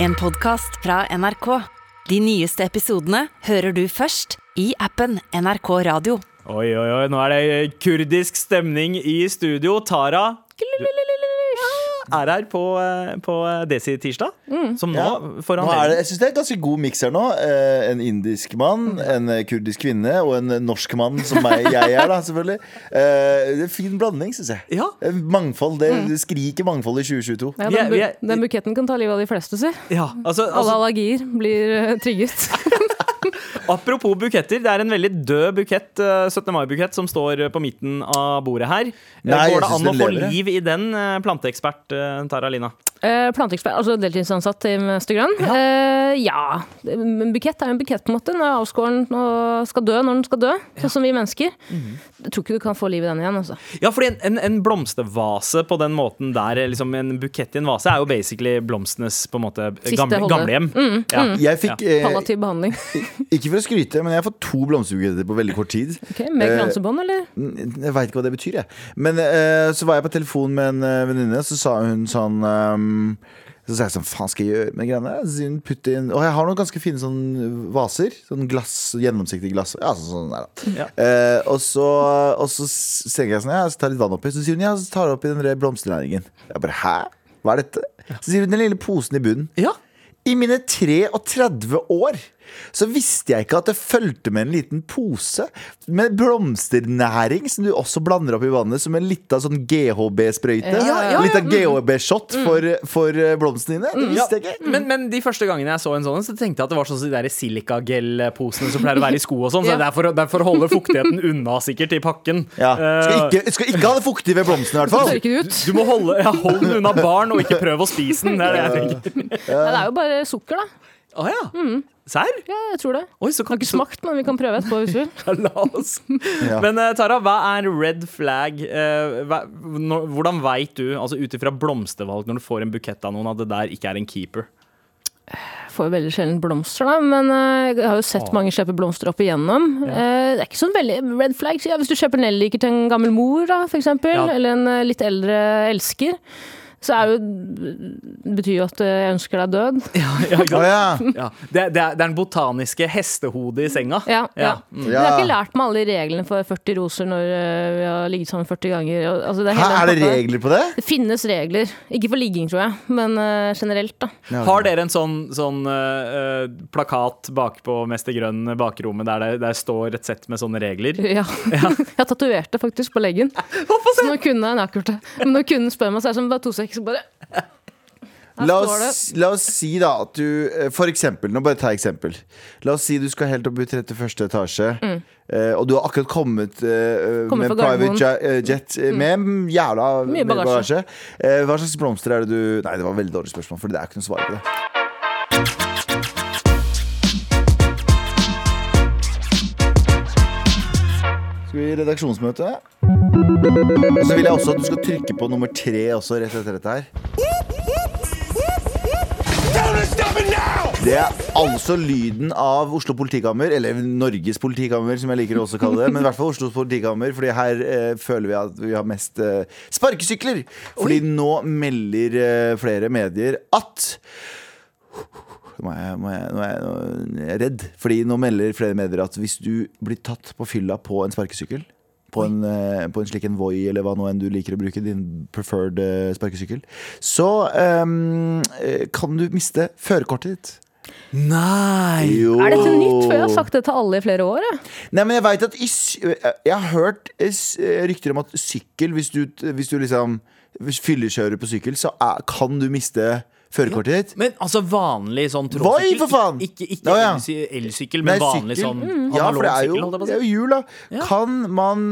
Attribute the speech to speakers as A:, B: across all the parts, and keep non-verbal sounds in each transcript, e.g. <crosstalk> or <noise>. A: En podcast fra NRK. De nyeste episodene hører du først i appen NRK Radio.
B: Oi, oi, oi, nå er det kurdisk stemning i studio. Tara du er her på, eh, på Desi Tirsdag,
C: Mm.
B: som nå får
D: Nå er det,
B: anledning.
D: jeg synes det er en ganske god miks her nå. Eh, en indisk mann, en eh, kurdisk kvinne og en eh, norsk mann, som meg, jeg er, da, selvfølgelig. Eh, det er en Fin blanding, syns jeg.
B: Ja.
D: Eh, Mangfold. Det, det skriker mangfold i 2022.
C: Mm. Ja,
B: Vi er-
C: den, bu
B: vi er-
C: den buketten kan ta livet av de fleste, si.
B: Ja, altså,
C: Alle
B: altså,
C: allergier blir eh, trigget.
B: <laughs> apropos buketter, det er en veldig død bukett, eh, 17. mai-bukett, som står eh, på midten av bordet her. Eh,
D: Nei, jeg
B: Går det
D: synes
B: an å
D: den
B: få
D: lever, jeg.
B: liv i den, eh, planteekspert eh, Tara Lina?
C: Eh, Planteekspert, altså deltidsansatt i Møstergrønn. Ja. ja. En bukett er jo en bukett, på en måte. Den er avskåren og skal dø når den skal dø, sånn som vi mennesker.
B: Mhm.
C: Jeg tror ikke du kan få liv i den igjen, altså.
B: Ja, fordi en, en, en blomstervase på den måten der, liksom en bukett i en vase, er jo basically blomstenes på en måte
C: Siste Mm,
B: gamle,
C: holde.
B: gamlehjem. Ja.
D: Jeg fikk, eh,
C: Palliativ
D: <laughs>
C: behandling.
D: ikke for å skryte, men jeg har fått to blomsterbuketter på veldig kort tid.
C: Ok, Med
D: Eh,
C: kransebånd, eller?
D: Jeg veit ikke hva det betyr, jeg. Men eh, så var jeg på telefon med en eh, venninne, så sa hun sånn ehm, Så sa jeg sånn, faen skal jeg gjøre med greiene? Så hun putte inn, og jeg har noen ganske fine sånn vaser. Sånn glass, gjennomsiktig glass. Ja, sånn, sånn der, da.
C: mm.
B: Ja.
D: Eh, og så, og så s- tenker jeg sånn, ja, så tar jeg litt vann oppi. Så sier hun, ja, så tar jeg oppi den der blomsternæringen. Jeg bare, hæ? Hva er dette? Så sier hun, den lille posen i bunnen.
B: Ja.
D: I mine 33 år så visste jeg ikke at det fulgte med en liten pose med blomsternæring, som du også blander opp i vannet som en lita sånn GHB-sprøyte.
C: Ja, ja, ja. Mm.
D: Litt av GHB-shot for, for eh, blomstene dine. Det visste jeg
B: Ja,
D: ikke.
B: Men, men de første gangene jeg så en sånn, så tenkte jeg at det var sånn som de der silikagel-posene som pleier å være i sko og
C: <laughs>
B: sånn. Så
C: Ja.
B: det er for å- det er for å holde fuktigheten unna, sikkert, i pakken.
D: Ja. Skal,
B: Eh,
D: ikke, skal ikke ha det fuktig ved blomstene, i hvert fall.
C: Tørker det ut.
B: du må holde ja, hold den unna barn, og ikke prøv å spise den. Det er det jeg tenker.
C: Nei, det er jo bare sukker, da.
B: Å ja. Serr?
C: Mm. Ja, jeg tror det.
B: Oi, så
C: Har
B: kan
C: ikke smakt, men vi kan prøve etterpå hvis vi vil.
B: Ja, <laughs> La oss.
D: Ja.
B: Men eh, Tara, hva er red flag? Eh, hva, når, hvordan veit du, altså ut ifra blomstervalg, når du får en bukett av noen, at det der ikke er en keeper? <laughs>
C: får jo veldig sjelden blomster, da, men eh, jeg har jo sett mange kjøpe blomster opp igjennom. Eh, det er ikke sånn veldig red flags. Ja, hvis du kjøper nelliker til en gammel mor, da, for eksempel,
B: Ja.
C: eller en eh, litt eldre elsker, så er jo Det betyr jo at eh, jeg ønsker deg død.
B: Ja, ikke
D: Å,
B: sant?
D: ja.
B: Ja. Det, det, er, det er den botaniske hestehodet i senga.
C: Ja, ja.
B: Ja.
C: Men jeg har ikke lært meg alle de reglene for 40 roser når eh, vi har ligget sammen 40 ganger. og- Altså, det, er
D: Hæ,
C: hele
D: er
C: den
D: det
C: pakka.
D: regler på det?
C: Det finnes regler. Ikke for ligging, tror jeg, men eh, generelt, da.
B: Har dere en sånn, sånn eh, eh, plakat bakpå Mester Grønn eh, bakrommet der det der står et sett med sånne regler?
C: Ja. <laughs> jeg tatoverte det faktisk på leggen. Så nå kunne jeg nei, akkurat det. Men når kunden spør meg, så er det sånn bare to sekunder, så bare Her
D: La
C: står det.
D: oss, la oss si da at du eh, For eksempel, nå bare ta eksempel La oss si du skal helt opp i 31. etasje eh, Og du har akkurat kommet eh,
C: Kommer
D: Med
C: fra
D: en private
C: Mm. Gardermoen. Mm.
D: ja- eh, jet eh, Med jævla
C: Mye
D: med
C: bagasje.
D: Eh, Hva slags blomster er det du Nei, det var et veldig dårlig spørsmål For det er ikke noe svar på det Skal vi i redaksjonsmøte? Og så vil jeg også at du skal trykke på nummer tre Også rett etter dette her Det er altså lyden av Oslo politikammer, eller Norges politikammer, som jeg liker å også kalle det. Men i hvert fall Oslos politikammer, fordi her eh, føler vi at vi har mest eh, sparkesykler. Fordi nå melder eh, flere medier at nå er, jeg, nå, er jeg, nå, er jeg, nå er jeg redd. Fordi nå melder flere medier at hvis du blir tatt på fylla på en sparkesykkel på en, eh, på en slik en Voi eller hva nå enn du liker å bruke, din preferred eh, sparkesykkel, så eh, eh, kan du miste førerkortet ditt.
B: Nei!
D: Jo.
C: Er dette nytt? For jeg har sagt det til alle i flere år. Jeg.
D: Nei, men jeg vet at i, sy- Jeg har hørt eh, s- eh, rykter om at sykkel Hvis du, hvis du liksom hvis fyllekjører på sykkel, så er, kan du miste førerkortet ditt.
B: Men altså vanlig sånn
D: Voi, for faen!
B: Ikke, ikke,
D: Å, ja.
B: elsy- elsykkel, men vanlig sånn
D: Mm. ja,
B: analog
D: for det er
B: sykkel.
D: jo,
B: holdt jeg på å
D: det
B: si.
D: er jo jul, da. Kan man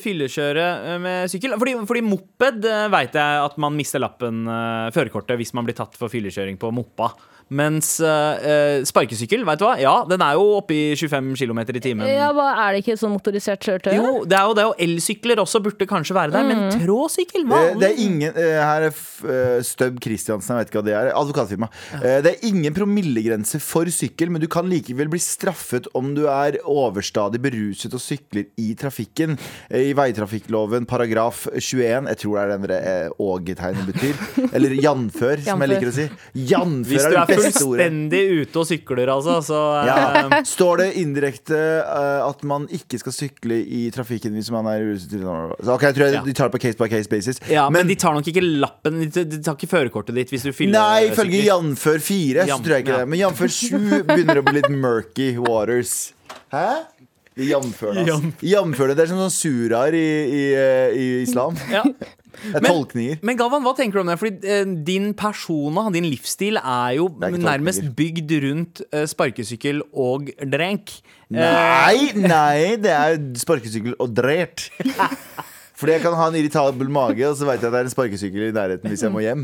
B: Fyllekjøre eh, med sykkel. Fordi, fordi moped eh, vet jeg at man mister lappen, eh, førerkortet, hvis man blir tatt for fyllekjøring på moppa. Mens eh, eh, sparkesykkel, vet du hva? Ja, den er jo oppe i 25 km i timen.
C: Ja, hva, er det ikke et sånn motorisert kjøretøy?
B: Jo, det er jo det, og elsykler også burde kanskje være der, men
C: Mm.
B: tråsykkel
D: eh, Det er
B: vanlig.
D: ingen eh, Her er f- eh, Stubb Christiansen, jeg vet ikke hva det er. Advokatfirma. Eh, Det er ingen promillegrense for sykkel, men du kan likevel bli straffet om du er overstadig beruset og sykler i trafikken. Eh, i veitrafikkloven paragraf 21. Jeg tror det er den det ågetegnet betyr.
B: <laughs>
D: Eller janfør, som jeg
C: Janfør.
D: liker å si. Janfør
B: Hvis
D: er
B: du
D: det
B: er
D: beste ordet.
B: fullstendig ute og sykler, altså, så eh,
D: Ja. <laughs> Står det indirekte eh, at man ikke skal sykle i trafikken hvis man er ruset? Ok, jeg tror jeg,
B: Ja.
D: de tar det på case by case basis.
B: ja, men, de tar nok ikke lappen De de tar ikke førerkortet ditt hvis du fyller eh,
D: Nei, ifølge janfør fire så
B: Jan-
D: tror jeg ikke
B: ja.
D: det. Men janfør sju begynner å bli litt murky waters. Hæ? De jamfører det.
B: Jam-
D: Altså. Jamfører det. Det er som sånn suraer i, i, eh, i
B: <laughs>
D: islam. Det
B: Ja.
D: er
B: Men-
D: tolkninger.
B: Men Galvan, hva tenker du om det? Fordi eh, Din persona, din livsstil, er jo
D: er ikke
B: nærmest
D: tolkninger.
B: bygd rundt eh, sparkesykkel og drenk.
D: Nei, nei, det er sparkesykkel og
B: <laughs>
D: drert. Fordi jeg kan ha en irritabel mage, og så veit jeg at det er en sparkesykkel i nærheten hvis jeg må hjem.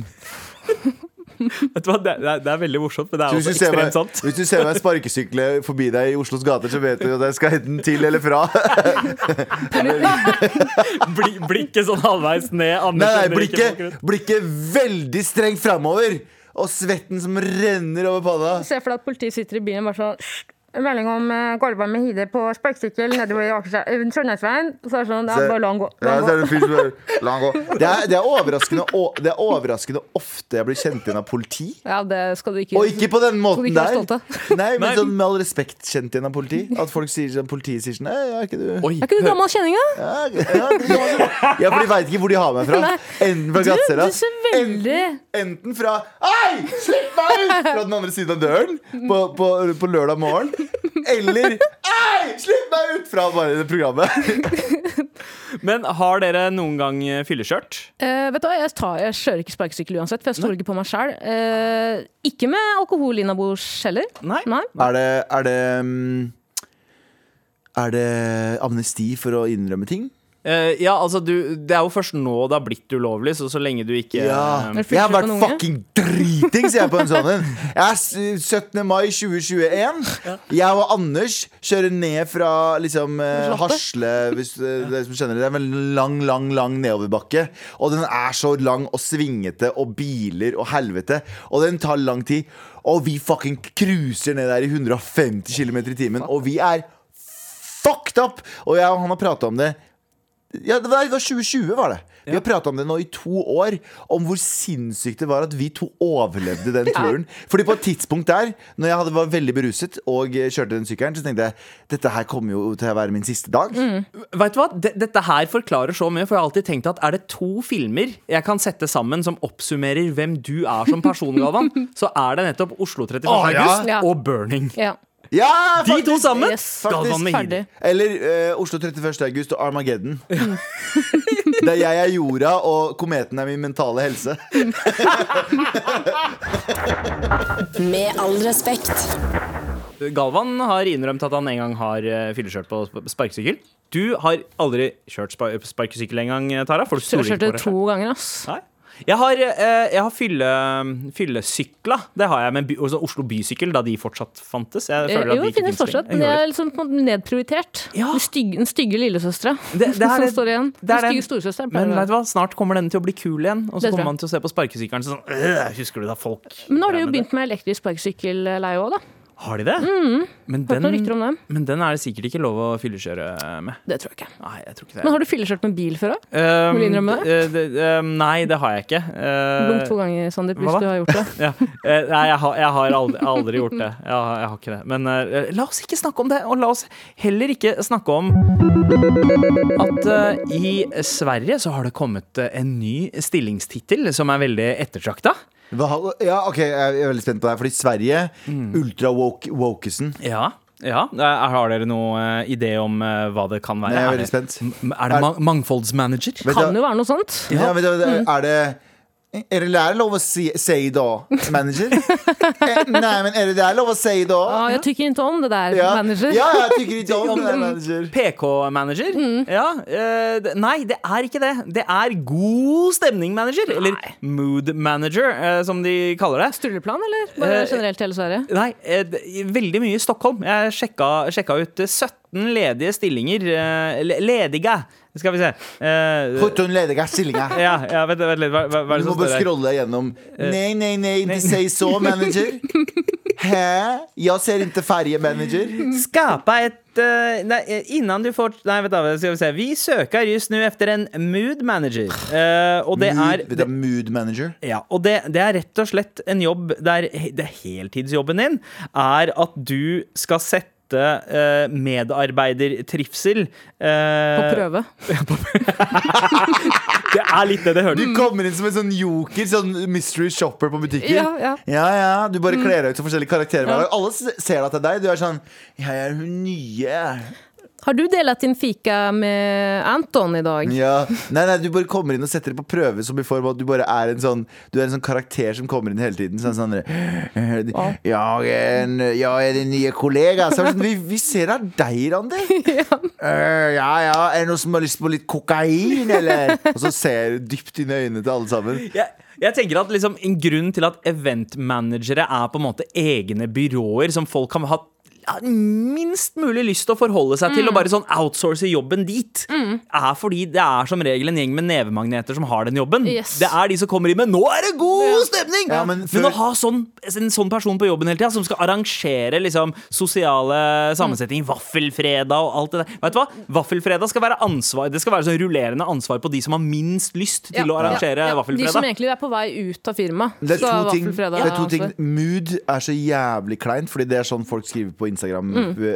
B: Vet du hva, det, er, veldig morsomt, men det
D: Så hvis, du ser meg, hvis du ser meg sparkesykle forbi deg i Oslos gater, så vet du at jeg skal enten til eller
B: <laughs>
D: fra.
B: Bli, blikket sånn halvveis ned. Anders
D: Nei, nei
B: skjønner ikke
D: blikket,
B: bakgrunnen.
D: blikket veldig strengt framover. Og svetten som renner over panna.
C: Se for deg at politiet sitter i bilen og bare sånn
E: melding om eh, Galvan Mehide på sparkesykkel nedover i Akershus- eh, Trondheimsveien. Så er det sånn, det
D: Se-
E: er bare la han gå. La
D: Ja,
E: han
D: så
E: gå.
D: er det en fyr som bare, La han gå. Det er, det, er overraskende, å- det er overraskende ofte jeg blir kjent igjen av politi.
C: Ja, det skal du ikke
D: Og ikke på den
C: Skal vi
D: måten
C: ikke være
D: der. Nei,
B: Nei.
D: men sånn Med all respekt kjent igjen av politi. At folk sier sånn, politiet sier sånn «Nei, ja, er ikke du
B: Oi,
C: Er ikke du gammel kjenning, da?
D: ja, er ikke- ja, er ikke du?» ja, for de veit ikke hvor de har meg fra. Enten fra
C: Du, du
D: Gatsera.
C: ser veldig
D: Enten fra Ei, slipp meg ut! Fra den andre siden av døren på, på, på lørdag morgen. Eller Ei, slipp meg ut! Fra bare det programmet.
B: Men har dere noen gang eh, fylleskjørt?
C: Eh, vet du hva, jeg, tar, jeg kjører ikke sparkesykkel uansett, for jeg stoler ikke på meg sjøl. ikke med alkohol innabords heller.
B: Nei.
D: Er det Er det, mm, er det amnesti for å innrømme ting?
B: Eh, ja, altså du, Det er jo først nå det har blitt ulovlig, så så lenge du ikke
D: Ja.
B: eh,
C: Men
D: Jeg har
C: fyller på
D: vært
C: noen unge?
D: fucking dritings jeg på en sånn en. Jeg er s- 17. mai 2021. Jeg og Anders kjører ned fra liksom eh, Hasle, hvis eh, dere som kjenner det. Det er en veldig lang, lang, lang nedoverbakke. Og den er så lang og svingete, og biler og helvete. Og den tar lang tid. Og vi fucking cruiser ned der i 150 km i timen. Og vi er fucked up! Og jeg og han har prata om det. Ja, det var det var 2020, var det. Vi har prata om det nå i to år. Om hvor sinnssykt det var at vi to overlevde
B: <laughs>
D: den turen. Fordi på et tidspunkt der, når jeg hadde, var veldig beruset og eh, kjørte den sykkelen, så tenkte jeg dette her kommer jo til å være min siste dag.
B: Mm. Vet du hva? De- Dette her forklarer så mye, for jeg har alltid tenkt at er det to filmer jeg kan sette sammen som oppsummerer hvem du er som person,
C: <laughs>
B: Galvan, så er det nettopp Oslo 31.
D: Å, ja.
B: august
C: Ja.
B: og Burning.
C: Ja.
D: Ja,
B: De to
D: faktisk!
B: sammen!
C: Yes,
B: Galvan med
C: ferdig.
B: Hidi.
D: Eller eh, Oslo 31. august og Armageddon. <laughs> Der jeg er jorda, og kometen er min mentale helse.
F: Med all respekt.
B: Galvan har innrømt at han en gang har eh, fylleskjørt på sp- sparkesykkel. Du har aldri kjørt spa- sparkesykkel engang, Tara. For du
C: Jeg
B: stoler ikke
C: kjørte
B: på deg
C: to
B: selv.
C: ganger, ass.
B: Nei. Jeg har, eh, jeg har fylle, fyllesykla. Det har jeg med by, altså Oslo Bysykkel, da de fortsatt fantes. Jeg
C: Eh,
B: føler at de
C: jo, det
B: ikke finnes lenger.
C: finnes fortsatt,
B: Jeg
C: men jeg
B: gjør
C: er liksom på en måte nedprioritert.
B: Ja. Eh,
C: Den stygge, den stygge lillesøstera
B: det er
C: som
B: det-
C: står igjen.
B: det er
C: Den
B: den-
C: stygge storesøsteren.
B: Men
C: pleier å
B: vet
C: være.
B: du hva, snart kommer denne til å bli kul igjen. Og så
C: Det tror jeg.
B: kommer man til å se på sparkesykkelen sånn øh, Husker du da folk
C: Men nå har
B: drev
C: de jo
B: med
C: begynt med elektrisk sparkesykkelleie òg, da.
B: det? Har de det? Men,
C: Hørt noen Mm. rykter
B: den,
C: om dem?
B: men den er det sikkert ikke lov å fyllekjøre med.
C: Det tror jeg ikke.
B: Nei, jeg tror ikke det.
C: Men har du fylleskjørt med bil før òg?
B: Um,
C: Vil du innrømme
B: det? um, nei, det har jeg ikke. Uh,
C: Blunk to ganger, Sandeep, hvis
B: hva da?
C: du har
B: <laughs>
C: gjort det.
B: ja. Eh, Nei, jeg har, jeg har aldri, aldri gjort det. Jeg har, jeg har ikke det. Men eh, la oss ikke snakke om det, og la oss heller ikke snakke om at eh, i Sverige så har det kommet eh, en ny stillingstittel som er veldig ettertrakta.
D: Hva- Ja, ok, Jeg er veldig spent på det her, fordi Sverige,
B: Mm.
D: ultra-wokesen
B: Ja. ja. Eh, Har dere noen eh, idé om eh, hva det kan være?
D: Jeg er
B: Er
D: veldig
B: det-
D: spent.
B: m- Er det ma- mangfoldsmanager?
D: Vet du-
C: Kan jo være noe sånt.
D: Ja. men det-
B: Mm.
D: det- er det er det der lov å si, si da, manager? Eh, Nei, men er det der lov å
B: Ah,
D: si
C: Ja,
D: da?
C: Ah, jeg tykker ikke om det der,
D: Ja,
C: manager.
D: ja jeg tykker ikke
B: <laughs>
D: om det der, manager.
B: PK-manager?
D: Mm.
B: Ja. eh, det- nei, det er ikke det. Det er god stemning-manager. Eller mood manager, eh, som de kaller det.
C: Stulleplan, eller? Bare
B: Eh,
C: generelt hele Sverige?
B: Nei, eh, d- veldig mye i Stockholm. Jeg sjekka, sjekka ut eh, 17 ledige stillinger. eh, le- Ledige, skal vi se. Eh,
D: Putt hun ledige
B: <laughs>
D: stillinger.
B: ja, ja, vent vent litt, hva, hva hva er
D: Du
B: det
D: må
B: som Eh.
D: bare
B: står der? <laughs>
D: scrolle gjennom. Nei, nei, nei, de sier så, manager. Hæ? Jag ser inte färjemanager.
B: Skapa ett... eh, nej, innan du får... Nei, vet du, hva, skal vi se. Vi søker just nå efter en mood manager. Eh, og det er...
D: Mood, det er mood manager.
B: Ja, og det, det er rett og slett en jobb der det er heltidsjobben din er at du skal sette eh, medarbeidertrivsel eh,
C: På prøve.
B: Det er litt det det høres
D: Du kommer inn som en sånn joker, sånn mystery shopper på butikken.
C: Ja, ja.
D: ja, ja, Du
B: Mm.
D: bare kler deg ut som forskjellige karakterer. hver dag. Alle s- ser at det er deg. Du er sånn Jeg er hun nye.
C: Har du delt din fika med Anton i dag?
D: Ja. Nei, nei, du bare kommer inn og setter det på prøve som i form av at du bare er en sånn Du er en sånn karakter som kommer inn hele tiden. Sånn, sånn der, jeg, er en, 'Jeg er din nye kollega'. Så er det sånn, vi, vi ser det er deg, Randi. «Øh, <laughs> ja, ja. Er det noen som har lyst på litt kokain, eller? Og så ser du dypt inn i øynene til alle sammen.
B: jeg, jeg tenker at liksom En grunn til at eventmanagere er på en måte egne byråer som folk kan ha ja, minst mulig lyst til å forholde seg
C: Mm.
B: til og bare sånn outsource jobben dit, er fordi det er som regel en gjeng med nevemagneter som har den jobben.
C: Yes.
B: Det er de som kommer inn med 'nå er det god stemning'!
D: Ja,
B: men,
D: men før-
B: å ha sånn, en sånn person på jobben hele tida, som skal arrangere liksom, sosiale
C: Mm.
B: sammensetninger, vaffelfredag og alt det der Vet du hva? Vaffelfredag skal være ansvar Det skal være sånn rullerende ansvar på de som har minst lyst til
C: Ja.
B: å arrangere
C: De som
B: vaffelfredag.
C: egentlig er på vei ut av firmaet.
D: Det er,
C: skal
D: to ting, det
C: Vaffelfredag
D: er
C: ha
D: to ting
C: ansvar.
D: Mood er så jævlig kleint, Fordi det er sånn folk skriver på Instagram.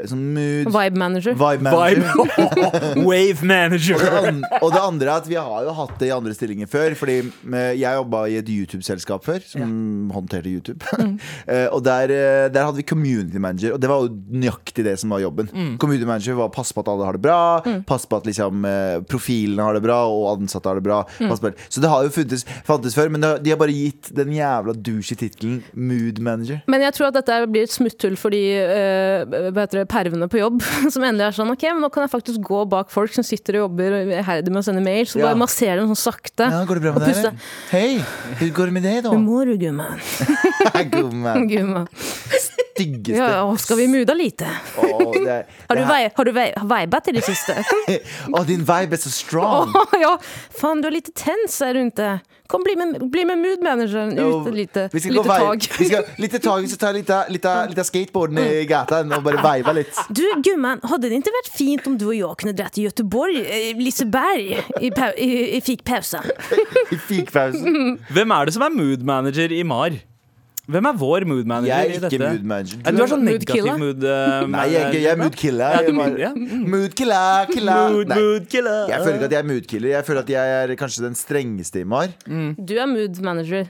D: Sånn mood,
C: Vibe manager.
D: vibe manager.
B: Vibe. <laughs> Wave
D: Og
B: manager.
D: det an- Og det andre er at vi har jo hatt det i andre stillinger før. Fordi eh, jeg jobba i et YouTube-selskap før, som håndterte YouTube.
C: Mm.
D: <laughs> Eh, og der, eh, der hadde vi community manager, og det var jo nøyaktig det som var jobben.
C: Mm.
D: Community manager var å passe på at alle har det bra, passe på at liksom, eh, profilene har det bra, og ansatte har det bra.
C: Mm.
D: passe på- Så det har jo funtes, fantes før, men det, har- de har bare gitt den jævla douche tittelen mood manager.
C: Men jeg tror at dette blir et smutthull for de eh, hva heter det, pervene på jobb. <laughs> Som endelig er sånn OK, men nå kan jeg faktisk gå bak folk som sitter og jobber iherdig med å sende mail. Så
D: Ja.
C: bare masserer dem sånn sakte.
D: Ja, går det bra med
C: og
D: deg?
C: puste.
D: eller? Hei, hvordan går det med
C: <laughs>
D: deg, da?
C: Hur mår du
D: <laughs>
C: gumman?
D: God man.
C: gumman.
D: Styggeste.
C: Ja, <laughs> og skal vi muda lite?
D: Å, det er-
C: Har du,
D: det er-
C: vei, har du vei, vibet i det
D: <laughs>
C: siste?
D: Å, din vibe er så strong. <laughs>
C: Åh, ja. Faen, du er litt tens, er du ikke? Kom, bli med, bli med mood manageren ut et lite,
D: Vi skal gå
C: lite
D: vei-
C: tag.
D: Vi skal, lite tag, så tar jeg litt av- litt av- litt av skateboarden i gata og bare veiva litt.
C: Du, gumman, hadde det ikke vært fint om du og jeg kunne dratt til Göteborg, eh, Liseberg, i, pau, i, i fikpausen?
D: I
C: <laughs>
D: fikpausen.
B: Hvem er det som er mood manager i MAR? Hvem er vår mood manager
D: Jeg
B: i
D: er
B: dette?
D: ikke mood manager.
B: Nei, Du er sånn
C: Mood
B: negativ
C: killer?
B: mood eh,
D: <laughs> Nei, jeg, er ikke- jeg er mood killer.
B: Ja, du
D: Jeg
B: er
D: bare-
B: mood, ja. Mm.
D: Mood killer, killer.
B: Mood,
D: Nei,
B: mood killer.
D: Jeg føler ikke at jeg er mood killer. Jeg føler at jeg er kanskje den strengeste i MAR.
C: Du er mood manager.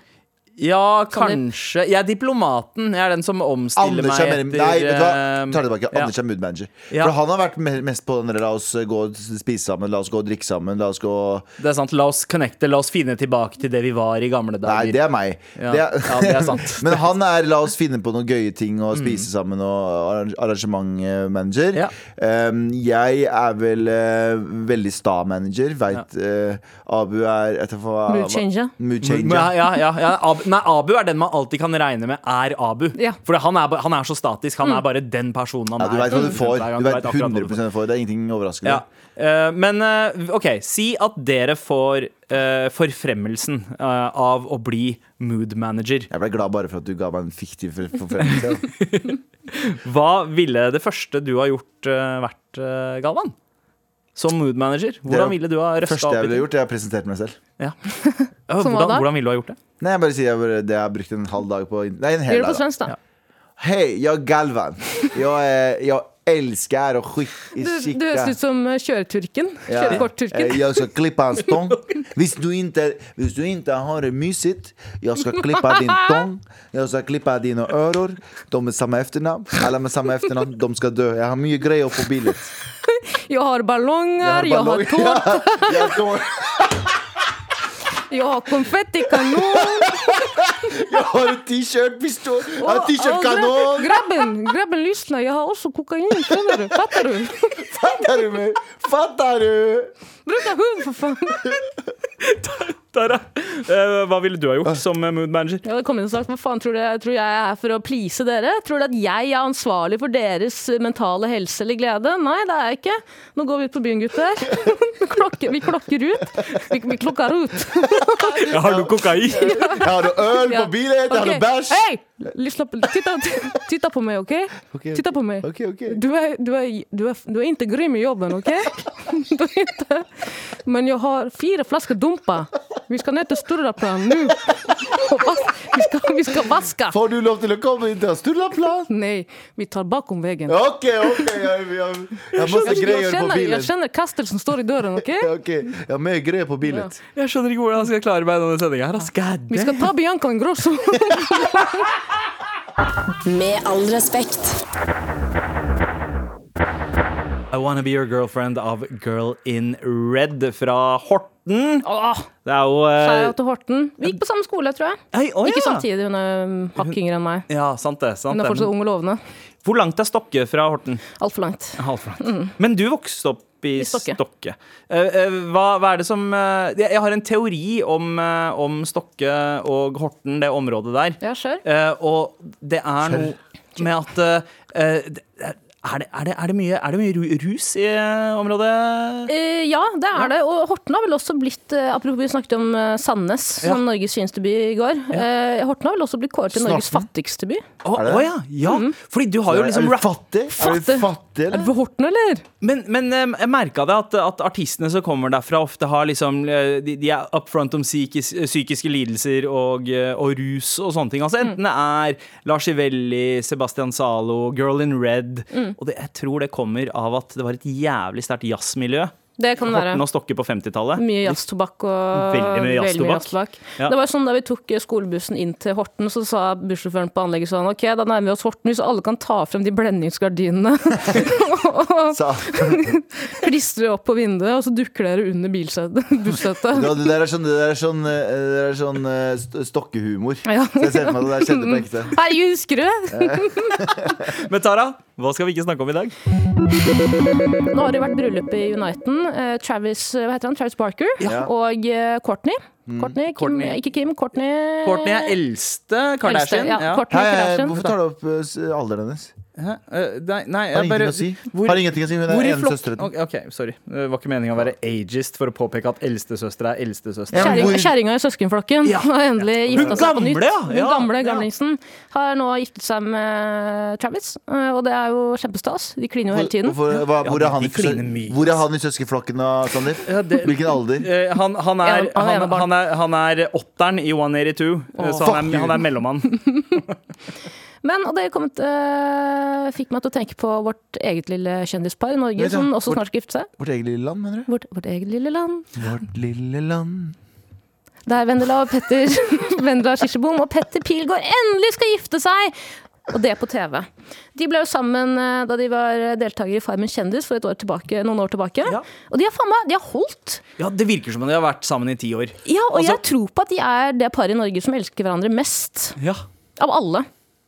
B: Ja, kanskje. Jeg er diplomaten. Jeg er den som omstiller
D: Anders er
B: meg etter
D: mer Nei, vet du hva?
B: eh,
D: Tar det tilbake.
B: ja.
D: Anders er mood manager.
B: Ja.
D: For han har vært me- mest på den der, la oss gå og spise sammen, la oss gå og drikke sammen, la oss gå
B: Det er sant. La oss connecte. La oss finne tilbake til det vi var i gamle dager.
D: Nei, det er meg.
B: Ja, ja, det er sant.
D: <laughs>
B: Mm.
D: Men han er la oss finne på noen gøye ting og spise sammen og arrange- arrangementmanager.
B: Ja.
D: Um, jeg er vel eh, veldig sta manager. Veit eh, Abu er vet du hva-
C: Mood changer.
D: Mood
B: Ja,
D: changer.
B: ja, ja, ja. Ab Nei, Abu er den man alltid kan regne med er Abu.
C: Ja. Mm.
B: For han er, ba- han er så statisk. Han er bare den personen han
D: Ja, du
B: er.
D: veit hva du får.
B: Hver gang,
D: Du vet
B: akkurat hva du
D: 100
B: får.
D: hva du får. Det er ingenting overraskende.
B: Ja. Eh, men eh, OK, si at dere får eh, forfremmelsen eh, av å bli mood manager.
D: Jeg ble glad bare for at du ga meg en fiktiv for- forfremmelse.
B: <laughs> Hva ville det første du har gjort, eh, vært, eh, Galvan? Som mood manager? Hvordan ville du ha
D: Det
B: røsta
D: første jeg
B: opp?
D: ville
B: i-
D: gjort, er å presentere meg selv.
B: Ja.
C: <laughs> Som hva
B: hvordan,
C: da?
B: hvordan ville du ha gjort det?
D: Nei, jeg bare sier jeg bare, det jeg har brukt en halv dag på. Nei, en hel
C: Gjør det
D: dag.
C: på
D: da.
C: svensk, da.
D: Hei, jeg er Galvan. Jeg, er- jeg elsker å skikke
C: Du, du høres ut som eh, kjøreturken.
D: Ja.
C: Kjørekortturken.
D: Eh, Jeg skal klippe hans tong. Hvis du ikke, hvis du ikke har det myset, jeg skal klippe din tong. Jeg skal klippe dine ører. De med samme etternavn. Alle med samme etternavn. De skal dø. Jeg har mye greier på bildet.
C: Jeg har ballonger, jeg har
D: <laughs>
C: tårn,
D: Jeg har tår.
C: jeg har <laughs> konfettikanon.
D: Jeg har en T-shirt-pistol. Jeg har en
C: Og
D: T-shirt-kanon.
C: Grabben, grabben, lyssna, jeg har også kokain. Skjønner du? Fatter du?
D: Fatter du meg? Fatter du?
C: Bruk deg hund, for faen.
B: Tara, eh, hva ville du ha
D: Ah.
B: gjort som eh, mood manager?
C: Jeg hadde kommet inn og sagt hva faen tror dere tror jeg er for å please dere? Tror dere at jeg er ansvarlig for deres mentale helse eller glede? Nei, det er jeg ikke. Nå går vi ut på byen, gutter. <laughs> Klokke, vi klokker ut. Vi, vi klokker ut.
B: Ja, har du kokain?
C: <laughs>
D: Jeg har noe øl på
C: Ja.
D: bilen, jeg har
C: Ok.
D: noe bæsj.
C: Hei! Litt slapp Titta, titta på meg, OK?
D: Ok,
C: Titta på meg.
D: Ok, ok.
C: Du er, du, er, du, er, du er ikke grym i jobben, OK? <laughs> Du er ikke. Men jeg har fire flasker dumpa. Vi skal ned til Sturlaplan nå. <laughs> Og vas- Vi skal, vi skal vaske.
D: Får du lov til å komme inn til Sturlaplan?
C: Nei, vi tar bakom veien.
D: Ok, ok. Jeg, jeg, jeg har masse
C: Jeg, jeg,
D: greier på
C: kjenner, jeg
D: bilen.
C: kjenner kastelsen står i døren, OK?
D: Ok, Jeg har mye greier på bilen.
B: Jeg skjønner ikke hvordan han skal klare meg i denne sendinga her. ass. God
C: Vi
B: damn.
C: skal ta Bianca <laughs> Ingrosso.
A: Med all respekt.
B: I Wanna Be Your Girlfriend av Girl in Red fra Horten. Det er jo eh,
C: Skjæra til Horten. Vi gikk på samme skole, tror jeg.
B: hei, å,
C: Ikke
B: ja.
C: samtidig, hun er um, hakk yngre enn meg.
B: Ja, sant det. sant
C: Hun er
B: det.
C: fortsatt
B: Men
C: ung og lovende.
B: Hvor langt er Stokke fra Horten?
C: Altfor langt.
B: Halvfrankt. Men du vokste opp i,
C: Mm. I
B: Stokke.
C: Stokke.
B: Eh, eh, hva, hva er det som eh, jeg, jeg har en teori om, eh, om Stokke og Horten, det området der.
C: Ja, kjør.
B: Eh, og det er noe med at eh, eh, det- er det, er, det, er, det mye, er det mye ru- rus i eh, området?
C: Eh, ja, det er det. Og Horten har vel også blitt eh, Apropos vi snakket om eh, Sandnes som Norges fineste by i går. Eh, Horten har vel også blitt kåret til Norges
D: Snarten.
C: fattigste by.
B: Å
D: det?
B: å ja, ja. Fordi du har jo liksom
D: er du
B: rappa
D: fattig? Er du
C: Fattig.
D: fattig,
C: Er
D: eller?
C: du fra Horten, eller?
B: Men, men eh, jeg merka det at, at artistene som kommer derfra, ofte har liksom eh, De, de er up front om psykis, psykiske lidelser og, eh, og rus og sånne ting. Altså Enten det er Lars Ivelli, Sebastian Zalo, Girl in Red Og det, jeg tror det kommer av at det var et jævlig sterkt jazzmiljø.
C: Det kan være.
B: Horten og Stokke på 50-tallet.
C: Mye jazztobakk og
B: Veldig mye jazztobakk. Ja.
C: Det var sånn Da vi tok eh, skolebussen inn til Horten, så sa bussjåføren på anlegget sånn OK, da nærmer vi oss Horten, hvis alle kan ta frem de blendingsgardinene <laughs> og
D: Sa.
C: klistre opp på vinduet, og så dukker dere under <laughs> bilsetet. bussetet.
D: Ja, det der er sånn, det der er sånn, eh, det der er sånn eh, st- stokkehumor.
C: Ja. Mm.
D: Så jeg ser for meg at det der skjedde på ekte.
C: Herregud, husker du?
B: Men Tara, hva skal vi ikke snakke om i dag?
C: Nå har det vært bryllup i Uniten. Eh, Travis, hva heter han? Travis Barker og eh, Courtney.
B: Mm.
C: Courtney, Kim,
B: Courtney.
C: Ikke Kim, Courtney
B: Courtney er eldste Kardashian.
C: Eh, Ja, Courtney
D: Hei, hei,
C: Kardashian.
D: hvorfor tar du opp eh, s- alderen hennes?
B: Hæ? Eh, Nei, nei jeg
D: Har ingenting
B: bare
D: å si.
B: Hvor-
D: Har ingenting å si, Hun
B: Hvor
D: er
B: i
D: ene
B: flokk-
D: søsteren.
B: Ok, ok, sorry. Det var ikke meningen å være ageist for å påpeke at eldstesøstre er eldstesøstre.
D: Ja, men
C: Kjerring-
D: hvor-
C: Kjerringa i søskenflokken
B: Ja.
C: har endelig
B: Hun
C: gifta seg på
B: gamle,
C: nytt.
B: ja.
C: Hun
B: Ja,
C: gamle
B: ja.
C: gamlingsen har nå giftet seg med Travis, eh, og det er jo kjempestas. De kliner jo hele tiden.
D: Hvorfor, hva, hvor, er
B: de-
D: han,
B: de
D: i sø-
B: kliner mye,
D: hvor er han i søskenflokken da, Sandeep?
B: det-
D: Hvilken alder?
B: Eh, Han, han, er,
C: Ja, han er
B: han,
C: enebarn.
B: han, er, han er åtteren i 182, eh, så han er, han er mellommann.
C: Men og det kom, eh, fikk meg til å tenke på vårt eget lille kjendispar i Norge,
D: Vet du,
C: som også
D: vårt-
C: snart skal gifte seg.
D: Vårt eget lille land, mener du?
C: Vårt, vårt eget lille land.
D: Vårt lille land.
C: Der Vendela og Petter <laughs> Vendela Kirsebom og Petter Pilgaard endelig skal gifte seg! Og det på TV. De ble jo sammen eh, da de var deltakere i Farmen kjendis for et år tilbake, noen år tilbake.
B: Ja.
C: Og de har faen meg de har holdt!
B: <laughs> Ja, Det virker som om de har vært sammen i ti år.
C: Ja, Og
B: Altså-
C: jeg tror på at de er det paret i Norge som elsker hverandre mest.
B: Ja.
C: Av alle.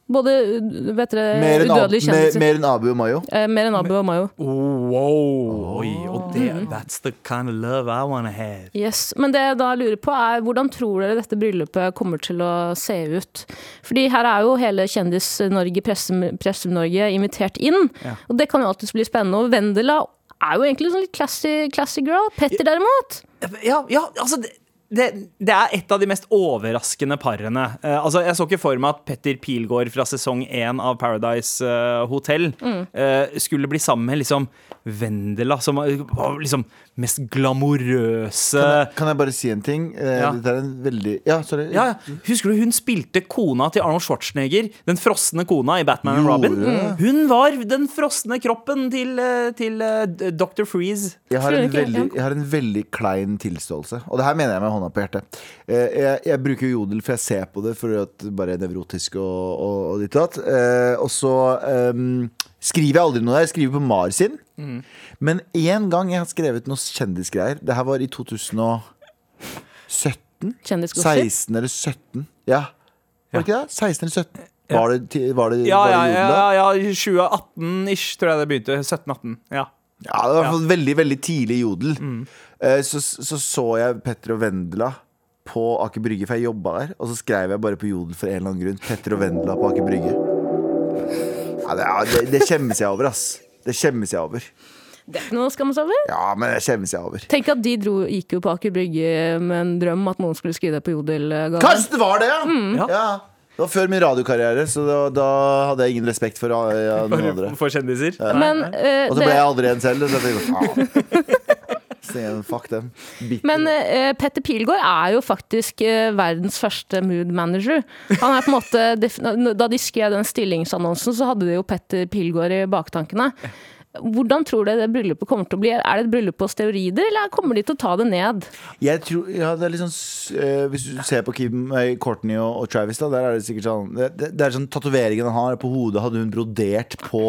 C: Både uh, vet
D: Mer
C: dere,
D: enn, Ab
C: udødelige
D: mer, Mm.
C: kjendiser.
D: mer enn Abu og Mayo.
C: Eh, Mer enn Abu og Mayo.
B: Oh, wow. Oi, og det, that's the kind of love I wanna have.
C: Yes, Men det jeg da lurer på er hvordan tror dere dette bryllupet kommer til å se ut? Fordi her er jo hele Kjendis-Norge, Presse- Presse-Norge invitert inn. Og det kan jo alltids bli spennende. Og Vendela er jo egentlig sånn litt classy, classy girl. Petter derimot
B: Ja, ja altså det, det, det er et av de mest overraskende parene. Eh, altså, jeg så ikke for meg at Petter Pilgaard fra sesong én av Paradise eh, Hotel
D: Mm.
B: eh, skulle bli sammen med liksom Vendela, som var liksom mest glamorøse
D: Kan jeg bare si en ting? Eh,
B: Eh, Ja.
D: Dette er en veldig Ja, sorry.
B: ja, ja. Husker du hun spilte kona til Arnold Schwarzenegger? Den frosne kona i Batman og
D: Gjorde
B: Robin? Mm.
D: det?
B: Hun var den frosne kroppen til, eh, til eh, Dr. Freeze.
D: Jeg har,
C: Tror du
D: en
C: ikke?
D: veldig, jeg har en veldig klein tilståelse, og det her mener jeg med hånda på hjertet. Eh, Jeg, jeg bruker jo jodel, for jeg ser på det for at det bare er nevrotisk og, og, og ditt og datt. Eh, Og så ehm, skriver jeg aldri noe der. Jeg skriver på Mar sin. Men én gang jeg har skrevet noe kjendisgreier. Det her var i 2017?
C: kjendisgossip.
D: 16 eller 17? Ja. Var det ikke det? 16 eller 17? Var det, ti- var det,
B: Ja,
D: var det
B: ja,
D: jodel
B: ja,
D: da?
B: ja, ja 2018-ish tror jeg det begynte. 17-18. Ja.
D: Ja, det var i hvert fall veldig, veldig tidlig jodel. Eh, Så, så så jeg Petter og Vendela på Aker Brygge, for jeg jobba der. Og så skrev jeg bare på jodel for en eller annen grunn. Petter og Vendela på Aker Brygge. Ja, det, ja, det, det skjemmes jeg over, ass. Det skjemmes jeg over.
C: Det er ikke noe å skamme seg over.
D: Ja, men det skjemmes jeg over.
C: Tenk at de dro, gikk jo på Aker Brygge med en drøm at noen skulle skrive det på Jodel. eh,
D: Kanskje det var det, ja! ja. Det var før min radiokarriere, så da, da hadde jeg ingen respekt for eh, ja, noen andre.
B: For kjendiser.
C: Men, eh,
D: Og så
C: det-
D: ble jeg aldri en selv. Så jeg tenkte, faen. Så jeg, Fuck dem. Bitter.
C: men eh, Petter Pilgaard er jo faktisk eh, verdens første mood manager. Han er på en måte, <laughs> defin- Da de skrev den stillingsannonsen, så hadde de jo Petter Pilgaard i baktankene. Hvordan tror dere det bryllupet kommer til å bli? Er det et bryllup på steroider, eller kommer de til å ta det ned?
D: Jeg tror, ja, det er litt sånn s- eh, Hvis du ser på Kim, eh, Courtney og, og Travis, da, der er det sikkert sånn Det, det det er sånn tatoveringen han har på hodet, hadde hun brodert på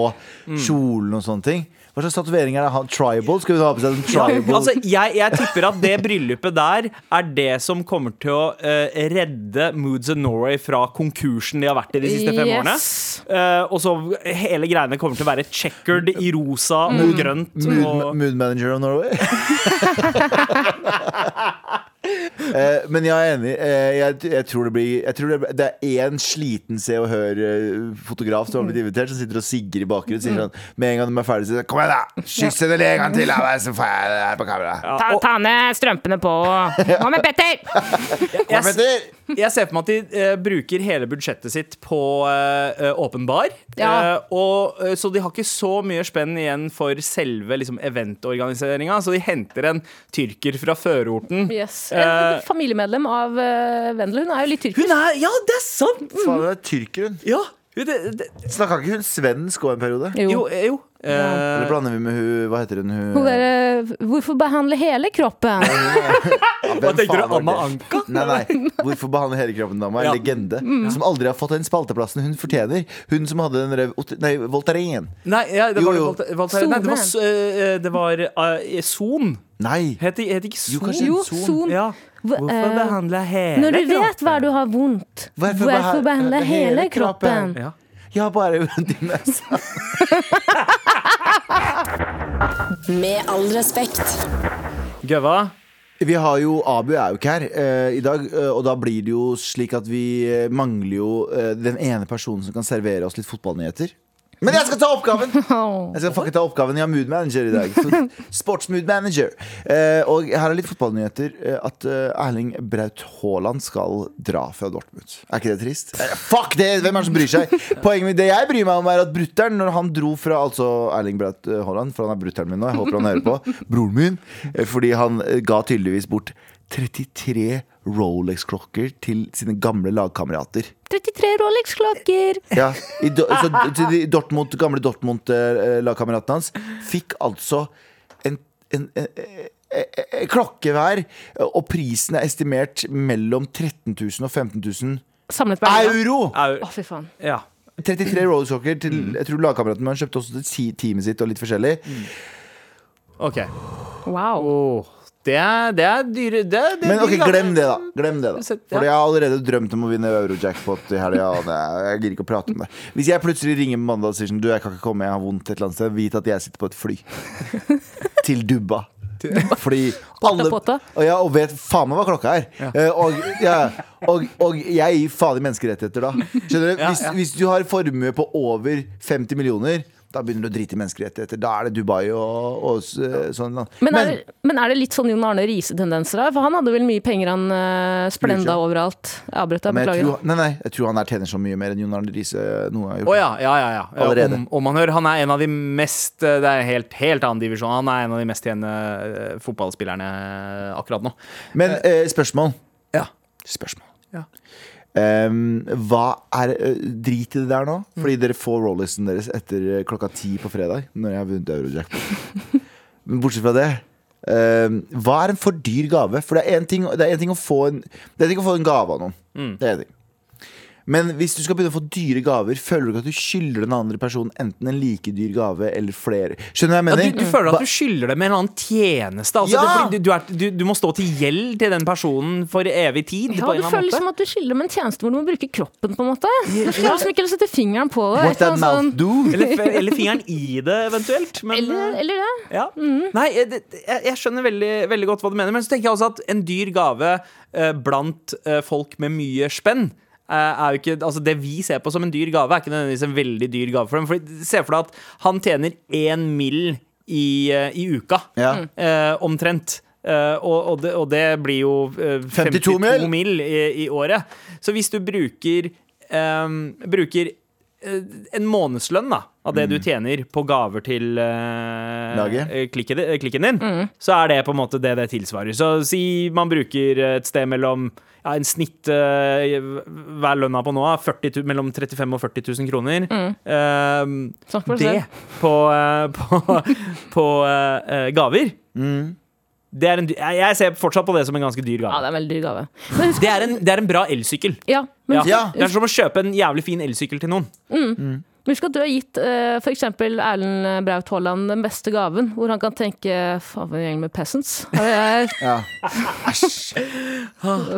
D: kjolen og sånne ting. Hva slags tatovering er det? Han- Tribal? Skal hun ha på seg en tribal?
B: Altså, jeg, jeg tipper at det bryllupet der er det som kommer til å eh, redde Moods of Norway fra konkursen de har vært i de siste fem årene.
C: Yes.
B: Eh, og så hele greiene kommer til å være checkered i rosa
C: Mm.
B: og grønt.
D: Mood,
B: Og,
D: mood manager of Norway? <laughs> Eh, men jeg er enig. Eh, jeg, jeg tror det blir jeg tror det, blir- det er én sliten Se og Hør-fotograf som har blitt invitert, som sitter og sigger i bakgrunnen. Sier sånn, med en gang de er ferdige, sier de, Kom igjen, da! Kyss henne en gang til! da, Så får jeg det her på kamera.
B: Ja, og
C: ned strømpene på. Hva med Petter?
D: Kom, Petter!
B: jeg ser for meg at de eh, bruker hele budsjettet sitt på eh, eh, åpen bar.
C: Ja.
B: Eh, og, eh, så de har ikke så mye spenn igjen for selve liksom, eventorganiseringa. Så de henter en tyrker fra førorten.
C: Yes.
B: Eh,
C: Et familiemedlem av uh, Vendel. Hun er jo litt tyrkisk.
B: hun er Ja, det er sant!
D: Faen, det er tyrker, hun.
B: Ja, hun- det, det,
D: Snakka ikke hun svensk òg en periode?
B: Jo, eh, jo. Eh,
D: Eller blander vi med hun Hva heter hun? Hun,
C: Hun der, eh, hvorfor behandle hele kroppen?
D: Hva
B: tenkte du, Anna Anka?
D: Nei,
B: <laughs>
D: nei. Hvorfor behandle hele kroppen dama? En
B: Ja. Mm.
D: legende. Som aldri har fått den spalteplassen hun fortjener. Hun som hadde den der Ot- Nei, Voltaren.
B: Nei, ja, det
D: Jo,
B: var
D: jo.
B: Valter- Valter- Nei, det var,
C: Sone.
B: eh, eh, det var eh, Son.
D: Nei!
B: Het det het det ikke Son?
D: Jo, kanskje
C: Jo,
D: en son.
C: son.
B: Ja.
C: Hva- eh,
B: behandle hele
C: Når du vet hva du har vondt,
D: Hvorfor
C: hvorfor,
D: beha-
C: behandle hele
D: hele kroppen?
C: kroppen?
B: Ja.
D: Jeg har bare <laughs> vondt i nesa.
A: Med all respekt.
B: Gøva.
D: Vi har jo Abu er jo ikke her eh, i dag, eh, og da blir det jo slik at vi eh, mangler jo eh, den ene personen som kan servere oss litt fotballnyheter. Men jeg skal ta oppgaven! Jeg skal faktisk ta oppgaven. Jeg har mood manager i dag. Så Sportsmood manager. Eh, og her er litt fotballnyheter. eh, At eh, Erling Braut Haaland skal dra fra Dortmund. Er ikke det trist? Eh, Fuck det! Hvem er det som bryr seg? Poenget med det jeg bryr meg om, er at brutter'n, når han dro fra altså Erling Braut eh, Haaland, for han er brutter'n min nå, jeg håper han hører på, broren min, eh, fordi han eh, ga tydeligvis bort 33 Rolex-klokker til sine gamle lagkamerater.
C: 33 Rolex-klokker!
D: Ja, i, Do- så til de Dortmund, gamle Dortmund-lagkameraten hans fikk altså en, en, en, en, en klokke hver, og prisen er estimert mellom 13 000 og 15 000
C: Samlet på Erna.
D: euro!
B: Au.
C: Å, fy faen.
B: Ja.
D: 33 Rolex-klokker til jeg tror lagkameraten min kjøpte også til ti- teamet sitt og litt forskjellig.
B: OK.
C: Wow.
B: Åh, det, er, det er dyre det, er- det er
D: Men ok,
B: dyre gaver.
D: glem det, da. Glem det da
B: Sett, ja.
D: Fordi jeg har allerede drømt om å vinne Eurojackpot i helga. og det- Jeg gidder ikke å prate om det. Hvis jeg plutselig ringer på mandag og sier sånn, du, jeg kan ikke komme, jeg har vondt et eller annet sted, vit at jeg sitter på et fly. Til Dubba. Fordi alle
C: potta.
D: Og, ja, og vet faen meg hva klokka er. Eh, Og, ja, og, og jeg gir faen i menneskerettigheter da. Skjønner du? Hvis, hvis du har formue på over 50 millioner, da begynner du å drite i menneskerettigheter. Da er det Dubai og, og s- sånn. land.
C: Men er, det- men er det litt sånn Jon Arne Riise-tendenser her? For han hadde vel mye penger han eh, splenda
D: Brukte.
C: overalt. Jeg avbrøt deg,
D: Men jeg
C: beklager.
D: tror, nei, nei, jeg tror han her tjener så mye mer enn Jon Arne Riise noen gang har
B: Å
D: gjort.
B: ja, ja, ja. ja. ja.
D: Allerede.
B: Om, om han hører. Han er en av de mest eh, Det er en helt, helt annen divisjon. Han er en av de mest tjenende eh, fotballspillerne akkurat nå.
D: Men eh, spørsmål.
B: Ja.
D: Spørsmål.
B: Ja.
D: Em, hva er eh, Drit i det der nå,
B: Mm.
D: fordi dere får Rolexen deres etter eh, klokka ti på fredag. Når jeg har vunnet Eurojackpot.
B: <laughs>
D: Men bortsett fra det, em, hva er en for
B: Mm.
D: dyr gave? For det er én ting, det er en ting, å få en- det er en ting å få en gave av noen. Det er en ting. Men hvis du skal begynne å få dyre gaver, føler du ikke at du skylder den andre personen enten en like dyr gave eller flere? Skjønner du hva
B: Ja,
D: jeg mener?
B: du, du føler at du skylder dem en eller annen tjeneste. Altså,
D: Ja!
B: det, fordi du, du, er, du, du må stå til gjeld til den personen for evig tid.
C: Ja,
B: på en
C: du
B: eller annen
C: føler
B: måte.
C: liksom at du skylder dem en tjeneste hvor du må bruke kroppen, på en måte. Du klarer liksom ikke å sette fingeren på det.
D: What
C: Et
D: that
C: eller
D: mouth
C: annet sånn-
D: do?
B: Eller, f- eller fingeren i det, eventuelt. Men, eh,
C: Eller, eller Mhm. det.
B: ja. Nei, eh, det, jeg, jeg skjønner veldig, veldig godt hva du mener, men så tenker jeg også at en dyr gave eh, blant eh, folk med mye spenn eh, er jo ikke, altså Det vi ser på som en dyr gave, er ikke nødvendigvis en veldig dyr gave for dem. Fordi, se for deg at han tjener én mill. I, eh, i uka,
D: Ja.
B: eh, omtrent. Eh, og, og, det, og det blir jo eh,
D: 52 mil.
B: mil i, i året. Så hvis du bruker, ehm, bruker eh, en månedslønn da, av det du tjener på gaver til eh,
D: Mm. Laget.
B: eh, klikken, eh, klikken din, så er det på en måte det det tilsvarer. Så si man bruker et sted mellom ja, en snitt eh, hver lønna på nå, er 40, tu- mellom 35 000 og 40 000 kroner. Ehm,
C: Snakk for deg
B: det på, eh,
C: <laughs>
B: på, på eh, eh, gaver.
D: Mm.
B: Det er en, dy- jeg jeg ser fortsatt på det som en ganske dyr
C: Ja,
B: gave.
C: det er en veldig dyr gave. Men husk,
B: Det er en, det er en bra elsykkel.
C: ja, men
B: Ja.
C: husk,
D: Ja.
B: Det er som å kjøpe en jævlig fin elsykkel til noen.
C: husk at du har gitt eh, for f.eks. Erlend eh, Braut Haaland den beste gaven, hvor han kan tenke faen for en gjeng med peasants. Her er
B: <laughs>
C: jeg.
D: Ja.
C: <laughs>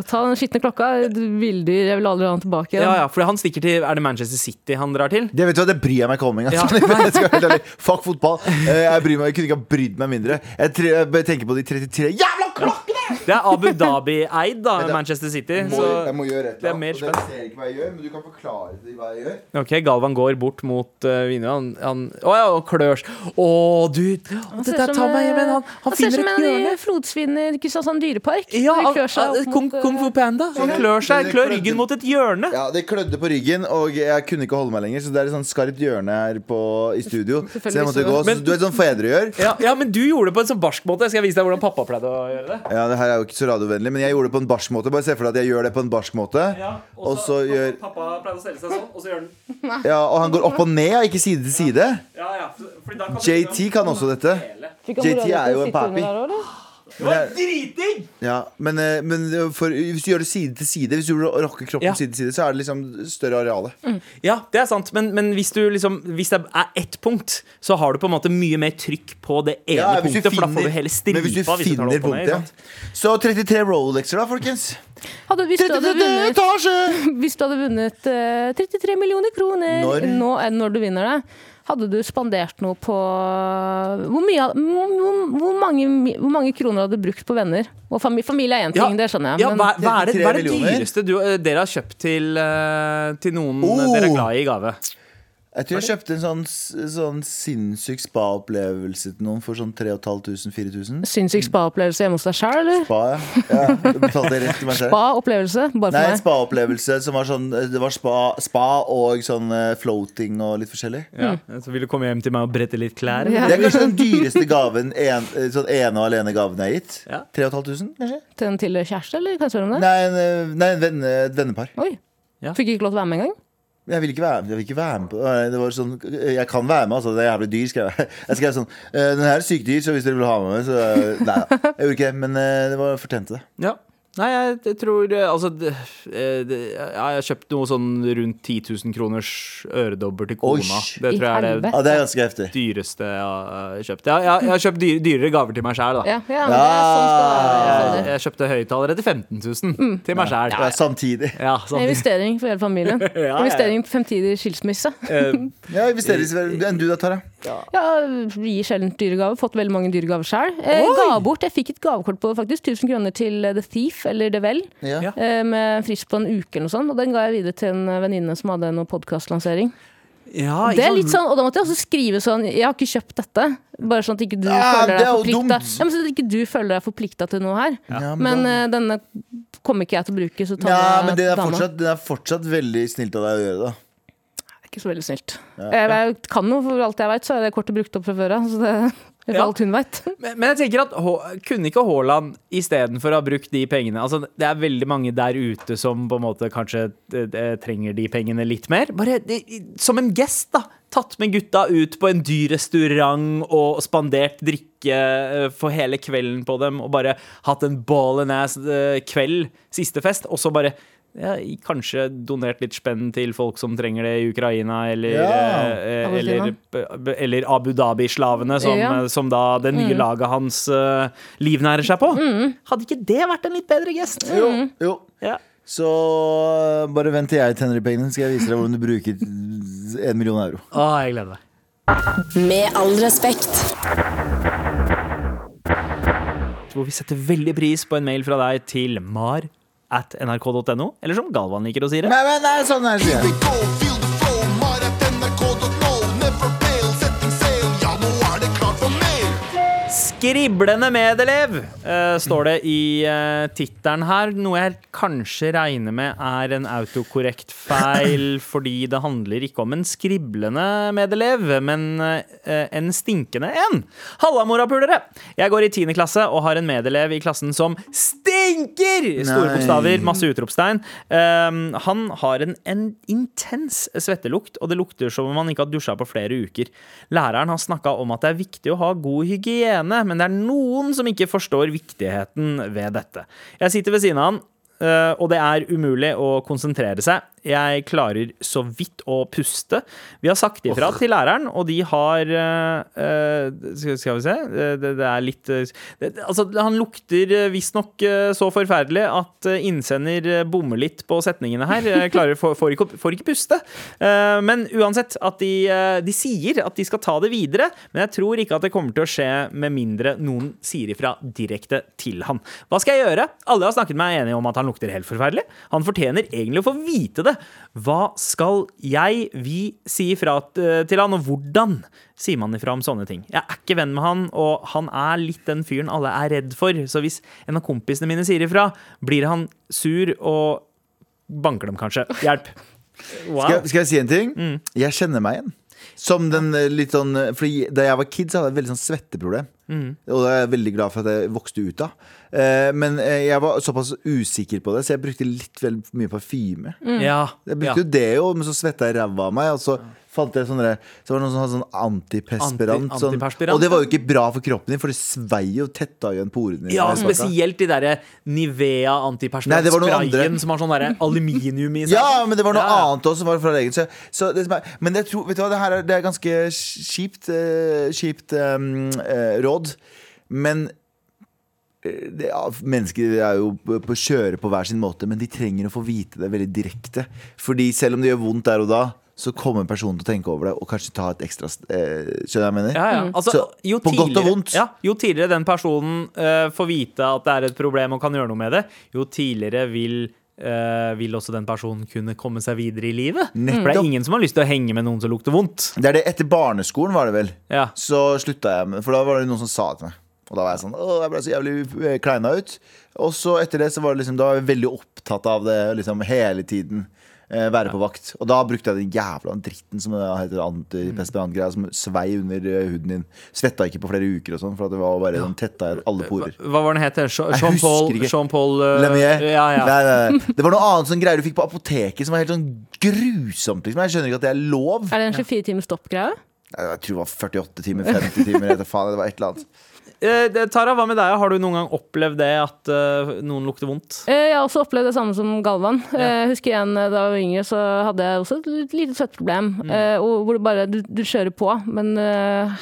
C: Ta den skitne klokka, du villdyr, jeg vil aldri ha den tilbake igjen.
B: Ja, ja, for han stikker til Er det Manchester City han drar til?
D: Det vet du hva, det bryr jeg meg ikke om engang. <laughs> Jeg skal være helt ærlig. Fuck fotball. Eh, Jeg, bryr meg, jeg kunne ikke ha brydd meg mindre. Jeg, tre, jeg bare tenker på de 33 jævla klokkene!
B: Det er Abu Dhabi-eid, da,
D: da-
B: Manchester City.
D: Jeg må,
B: Så,
D: jeg må gjøre et
B: det er
D: eller
B: mer
D: annet. Og dere ser ikke hva jeg gjør, men du kan forklare det hva jeg gjør.
B: ok, Galvan går bort mot uh, vinneren. Han, han Å ja, og klørs. Å, du
C: Han
B: Det
C: ser
B: der
C: ut som,
B: tar meg hjem igjen. Han,
C: eh,
B: han finner et
C: Han ser ut som en
B: hjørne.
C: i Flodsvin i Kristiansand dyrepark.
B: Ja,
C: De
B: han-
C: klør seg
B: han-
C: opp
B: Kung,
C: mot, eh,
B: Kung Fu Panda. Han klør seg, klør ryggen mot et hjørne.
D: Ja, Det klødde på ryggen, og jeg kunne ikke holde meg lenger. Så det er et sånn skarpt hjørne her på, i studio. Så jeg måtte gå. Så
B: Men-
D: du vet sånn fedre gjør?
B: Ja, ja, men du gjorde det på en sånn barsk måte. Skal jeg vise deg hvordan pappa pleide å gjøre det?
D: Ja, det her er jo ikke så radiovennlig, men jeg gjorde det på en barsk måte. Bare se for deg at jeg gjør det på en barsk måte. Og så gjør
B: Pappa pleide å stelle seg sånn, og så gjør den
D: Ja, og han går opp og ned, ja, ikke side til side.
B: Ja, ja. Fordi da kan
D: JT kan også dette.
C: Fikk han
D: JT
C: mora di til
D: er
C: å
D: jo en
C: sitte under
D: papi.
C: der også, eller?
D: Men, jeg-
B: Driting!
D: ja, men, eh, men for, hvis du gjør det side til side, hvis du rocker kroppen
B: Ja. Mm.
D: side til side, så er det liksom større areale.
B: Ja, det er sant, men, men hvis, du liksom, hvis det er ett punkt, så har du på en måte mye mer trykk på det ene
D: Ja, hvis du
B: punktet, for da får
D: finner-
B: du hele
D: men
B: stripa.
D: hvis du
B: tar
D: finner
B: det opp og ned, ikke
D: punktet.
B: sant?
D: Så 33 Rolexer, da, folkens.
C: Hadde, hvis, du hadde
D: 33
C: vunnet,
B: <laughs>
D: etasje!
C: hvis du hadde vunnet eh, 33 millioner kroner
D: Når?
C: Nå, eh, når du vinner det, hadde du spandert noe på Hvor, mye, hadde- hvor, hvor, hvor, mange, mi- hvor mange kroner hadde du brukt på venner? Og familie, familie er én ting, det skjønner jeg.
B: ja, hva,
C: men,
B: hva er det, hva er det
D: 33 millioner?
B: dyreste du, eh, dere har kjøpt til, eh, til noen eh,
D: Oh!
B: dere er glad i i gave?
D: Jeg tror jeg kjøpte en sånn, sånn sinnssyk spa-opplevelse til noen for sånn 3500-4000.
C: Sinnssyk spa-opplevelse hjemme hos deg sjøl, eller?
D: Spa, ja. ja. Jeg betalte rett til meg selv.
C: Spa-opplevelse, bare
D: Nei, en
C: for meg.
D: spa-opplevelse som var sånn Det var spa, spa og sånn eh, floating og litt forskjellig.
B: Ja. Så vil du komme hjem til meg og brette litt klær?
C: Ja.
D: Det er kanskje den dyreste gaven en, eh, Sånn ene og alene gaven jeg har gitt.
B: Ja.
D: 3500, kanskje?
C: Til en tidligere kjæreste, eller? Kan jeg spørre om det?
D: Nei, en, eh, nei en venne, et vennepar.
C: Oi.
B: Ja.
C: Fikk ikke lov til å være med engang?
D: Jeg vil ikke være med, jeg vil ikke være med på Nei, det. Var sånn, jeg kan være med, altså. Det er jævlig dyr, skrev jeg. <laughs> Jeg skrev sånn eh, Den her er sykt dyr, så hvis dere vil ha meg med, så eh,
C: <laughs>
D: Nei da. Jeg gjorde ikke det, men eh, det var fortjente det.
B: Ja. Nei, jeg jeg tror eh, Altså, det, eh, det, jeg har kjøpt noe sånn rundt 10 000 kroners øredobber til
D: Oi,
B: kona. Det
C: i
B: tror jeg er det
C: helvete.
D: Ja, det er ganske heftig.
B: dyreste jeg har eh, kjøpt. Jeg, jeg, jeg har kjøpt dyr, dyrere gaver til meg sjæl, da. Eh,
C: Ja, ja, men det er sånn skal det være.
B: Jeg, jeg kjøpte høyttalere til 15 000
C: Mm.
B: til meg sjæl.
D: Ja, samtidig.
B: Ja, sånn.
C: Investering for hele familien.
B: <laughs>
C: Investering på fremtidig skilsmisse.
D: <laughs> Ja, investerer i Eh, enn du da, Tara.
C: Ja, gir sjelden dyre gaver. Fått veldig mange dyre gaver sjøl. Eh, ga bort. Jeg fikk et gavekort på faktisk 1000 kroner til eh, The Thief eller The Well.
D: Ja.
B: Ja.
C: eh, Med frist på en uke eller noe sånt. Og den ga jeg videre til en eh, venninne som hadde noe podkastlansering.
B: Ja, ikke
C: Det er
B: sant?
C: litt sånn, og da måtte jeg også skrive sånn Jeg har ikke kjøpt dette. Bare sånn at ikke du
D: Ja,
C: føler
D: det
C: deg
D: er jo
C: forplikta.
D: dumt.
C: Ja, men så at ikke du føler deg forplikta til noe her.
D: Ja,
C: Men
D: da-
C: eh, denne kommer ikke jeg til å bruke, så ta
D: Ja, men
C: det
D: det er,
C: dama.
D: fortsatt, det er fortsatt veldig snilt av deg å gjøre det. da.
C: Ikke så veldig snilt. Jeg, jeg kan jo, for alt jeg veit, så er det kortet brukt opp fra før av. Så det for
B: Ja.
C: alt hun veit.
B: Men, men jeg tenker at H kunne ikke Haaland istedenfor å ha brukt de pengene Altså, det er veldig mange der ute som på en måte kanskje eh, trenger de pengene litt mer. Bare det, som en gest, da. Tatt med gutta ut på en dyr restaurant og spandert drikke eh, for hele kvelden på dem, og bare hatt en ball and ass eh, kveld, siste fest, og så bare ja, kanskje donert litt spenn til folk som trenger det i Ukraina, eller,
D: Ja.
B: eh, eh, eller, eller Abu Dhabi-slavene, som,
C: Ja.
B: eh, som da det nye laget hans eh, livnærer seg på. Hadde ikke det vært en litt bedre gest?
D: Jo,
C: Mm.
D: jo.
B: Ja.
D: Så øh, bare vent til jeg tenner i pengene, skal jeg vise deg hvordan du bruker en million euro.
B: Å, jeg gleder meg.
F: Med all respekt.
B: Hvor vi setter veldig pris på en mail fra deg til mar at nrk.no, eller som Galvan liker å si det.
D: Nei, men det er sånn her, sier jeg.
G: Go, feel the flow, mar at nrk.no. Never fail, setting sail. Ja, nå er det klart for mer.
B: Skriblende medelev, eh, står det i uh, tittelen her. Noe jeg kanskje regner med er en autokorrekt feil, fordi det handler ikke om en skriblende medelev, men eh, en stinkende en. Halla, morapulere! Jeg går i tiende klasse og har en medelev i klassen som stinker! Store
D: Nei.
B: bokstaver, masse utropstegn. Um, han har en, en intens svettelukt, og det lukter som om han ikke har dusja på flere uker. Læreren har snakka om at det er viktig å ha god hygiene, men det er noen som ikke forstår viktigheten ved dette. Jeg sitter ved siden av han. Uh, og det er umulig å konsentrere seg. Jeg klarer så vidt å puste. Vi har sagt ifra til læreren, og de har uh, uh, skal, skal vi se uh, det, det er litt uh, det, det- Altså, han lukter uh, visstnok uh, så forferdelig at uh, innsender uh, bommer litt på setningene her. Uh, klarer, får, får, ikke, får ikke puste. Uh, men uansett, at de, uh, de sier at de skal ta det videre, men jeg tror ikke at det kommer til å skje med mindre noen sier ifra direkte til han. Hva skal jeg gjøre? Alle har snakket meg enige om at han lukter helt forferdelig. Han fortjener egentlig å få vite det. Hva skal jeg, vi, si ifra t- til han, og hvordan sier man ifra om sånne ting? Jeg er ikke venn med han, og han er litt den fyren alle er redd for, så hvis en av kompisene mine sier ifra, blir han sur og banker dem kanskje. Hjelp. Wow.
D: Skal, jeg- skal jeg si en ting? Jeg kjenner meg igjen. Som den eh, litt sånn eh, Fordi Da jeg var kid, så hadde jeg et veldig sånn svetteproblem. Og det er jeg veldig glad for at jeg vokste ut av. Eh, Men eh, jeg var såpass usikker på det, så jeg brukte litt vel mye parfyme.
B: Ja.
D: Mm. Jeg
B: ja.
D: brukte jo det jo, men så svetta jeg ræva av meg. Og så fant jeg sånne, så var det noen som hadde sånn antiperspirant.
B: Anti-
D: sånn,
B: antiperspirant,
D: og det var jo ikke bra for kroppen din, for det svei jo tetta igjen porene. dine.
B: Ja,
D: Jeg svetta.
B: spesielt de derre Nivea
D: Nei, det var noen andre.
B: antiperspirantsprayen som har sånn derre aluminium i seg.
D: Ja, men det var noe
B: Ja.
D: annet også som var fra legen. Så, så det som er, men jeg tror, vet du hva, det her er, det er ganske kjipt, eh, kjipt eh, eh, råd. Men eh, det, ja, mennesker er jo på, på kjøre på hver sin måte, men de trenger å få vite det veldig direkte. Fordi selv om det gjør vondt der og da, så kommer personen til å tenke over det og kanskje ta et ekstra st- eh, Skjønner du hva jeg mener?
B: Ja, ja. Altså,
D: Så,
B: jo
D: på godt og
B: tidligere-
D: vondt.
B: Ja, jo tidligere den personen eh, får vite at det er et problem og kan gjøre noe med det, jo tidligere vil eh, vil også den personen kunne komme seg videre i livet? For det
D: Nettopp.
B: er ingen som har lyst til å henge med noen som lukter vondt.
D: Det er det etter barneskolen, var det vel.
B: Ja.
D: Så slutta jeg med For da var det noen som sa det til meg. Og da var jeg sånn Å, jeg ble så jævlig eh, kleina ut. Og så etter det så var det liksom Da var jeg veldig opptatt av det liksom hele tiden. Eh, være på vakt. Og da brukte jeg den jævla dritten som det heter antiperspirant-greia, som svei under eh, huden din. Svetta ikke på flere uker og sånn, for at det var bare den tetta igjen alle porer.
B: Eh, Hva var den het?
D: Jeg
B: Jean-Paul
D: husker ikke.
B: Jean-Paul eh,
D: Lemieux.
B: Ja, ja.
D: Nei,
B: <laughs>
D: nei, nei. Det var noe annet sånn greier du fikk på apoteket som var helt sånn grusomt. Liksom. Jeg skjønner ikke at det er lov.
C: Er det en 24 times stopp-greie?
D: Nei, Jeg tror det var 48 timer, 50 timer, jeg vet da faen, det var et eller annet.
B: Eh, det- Tara, hva med deg? Har du noen gang opplevd det at eh, noen lukter vondt?
C: Eh, Jeg har også opplevd det samme som Galvan. Eh, Jeg husker igjen eh, da jeg var yngre, så hadde jeg også et litt- lite svetteproblem. eh, og Hvor det bare du, du kjører på, men eh,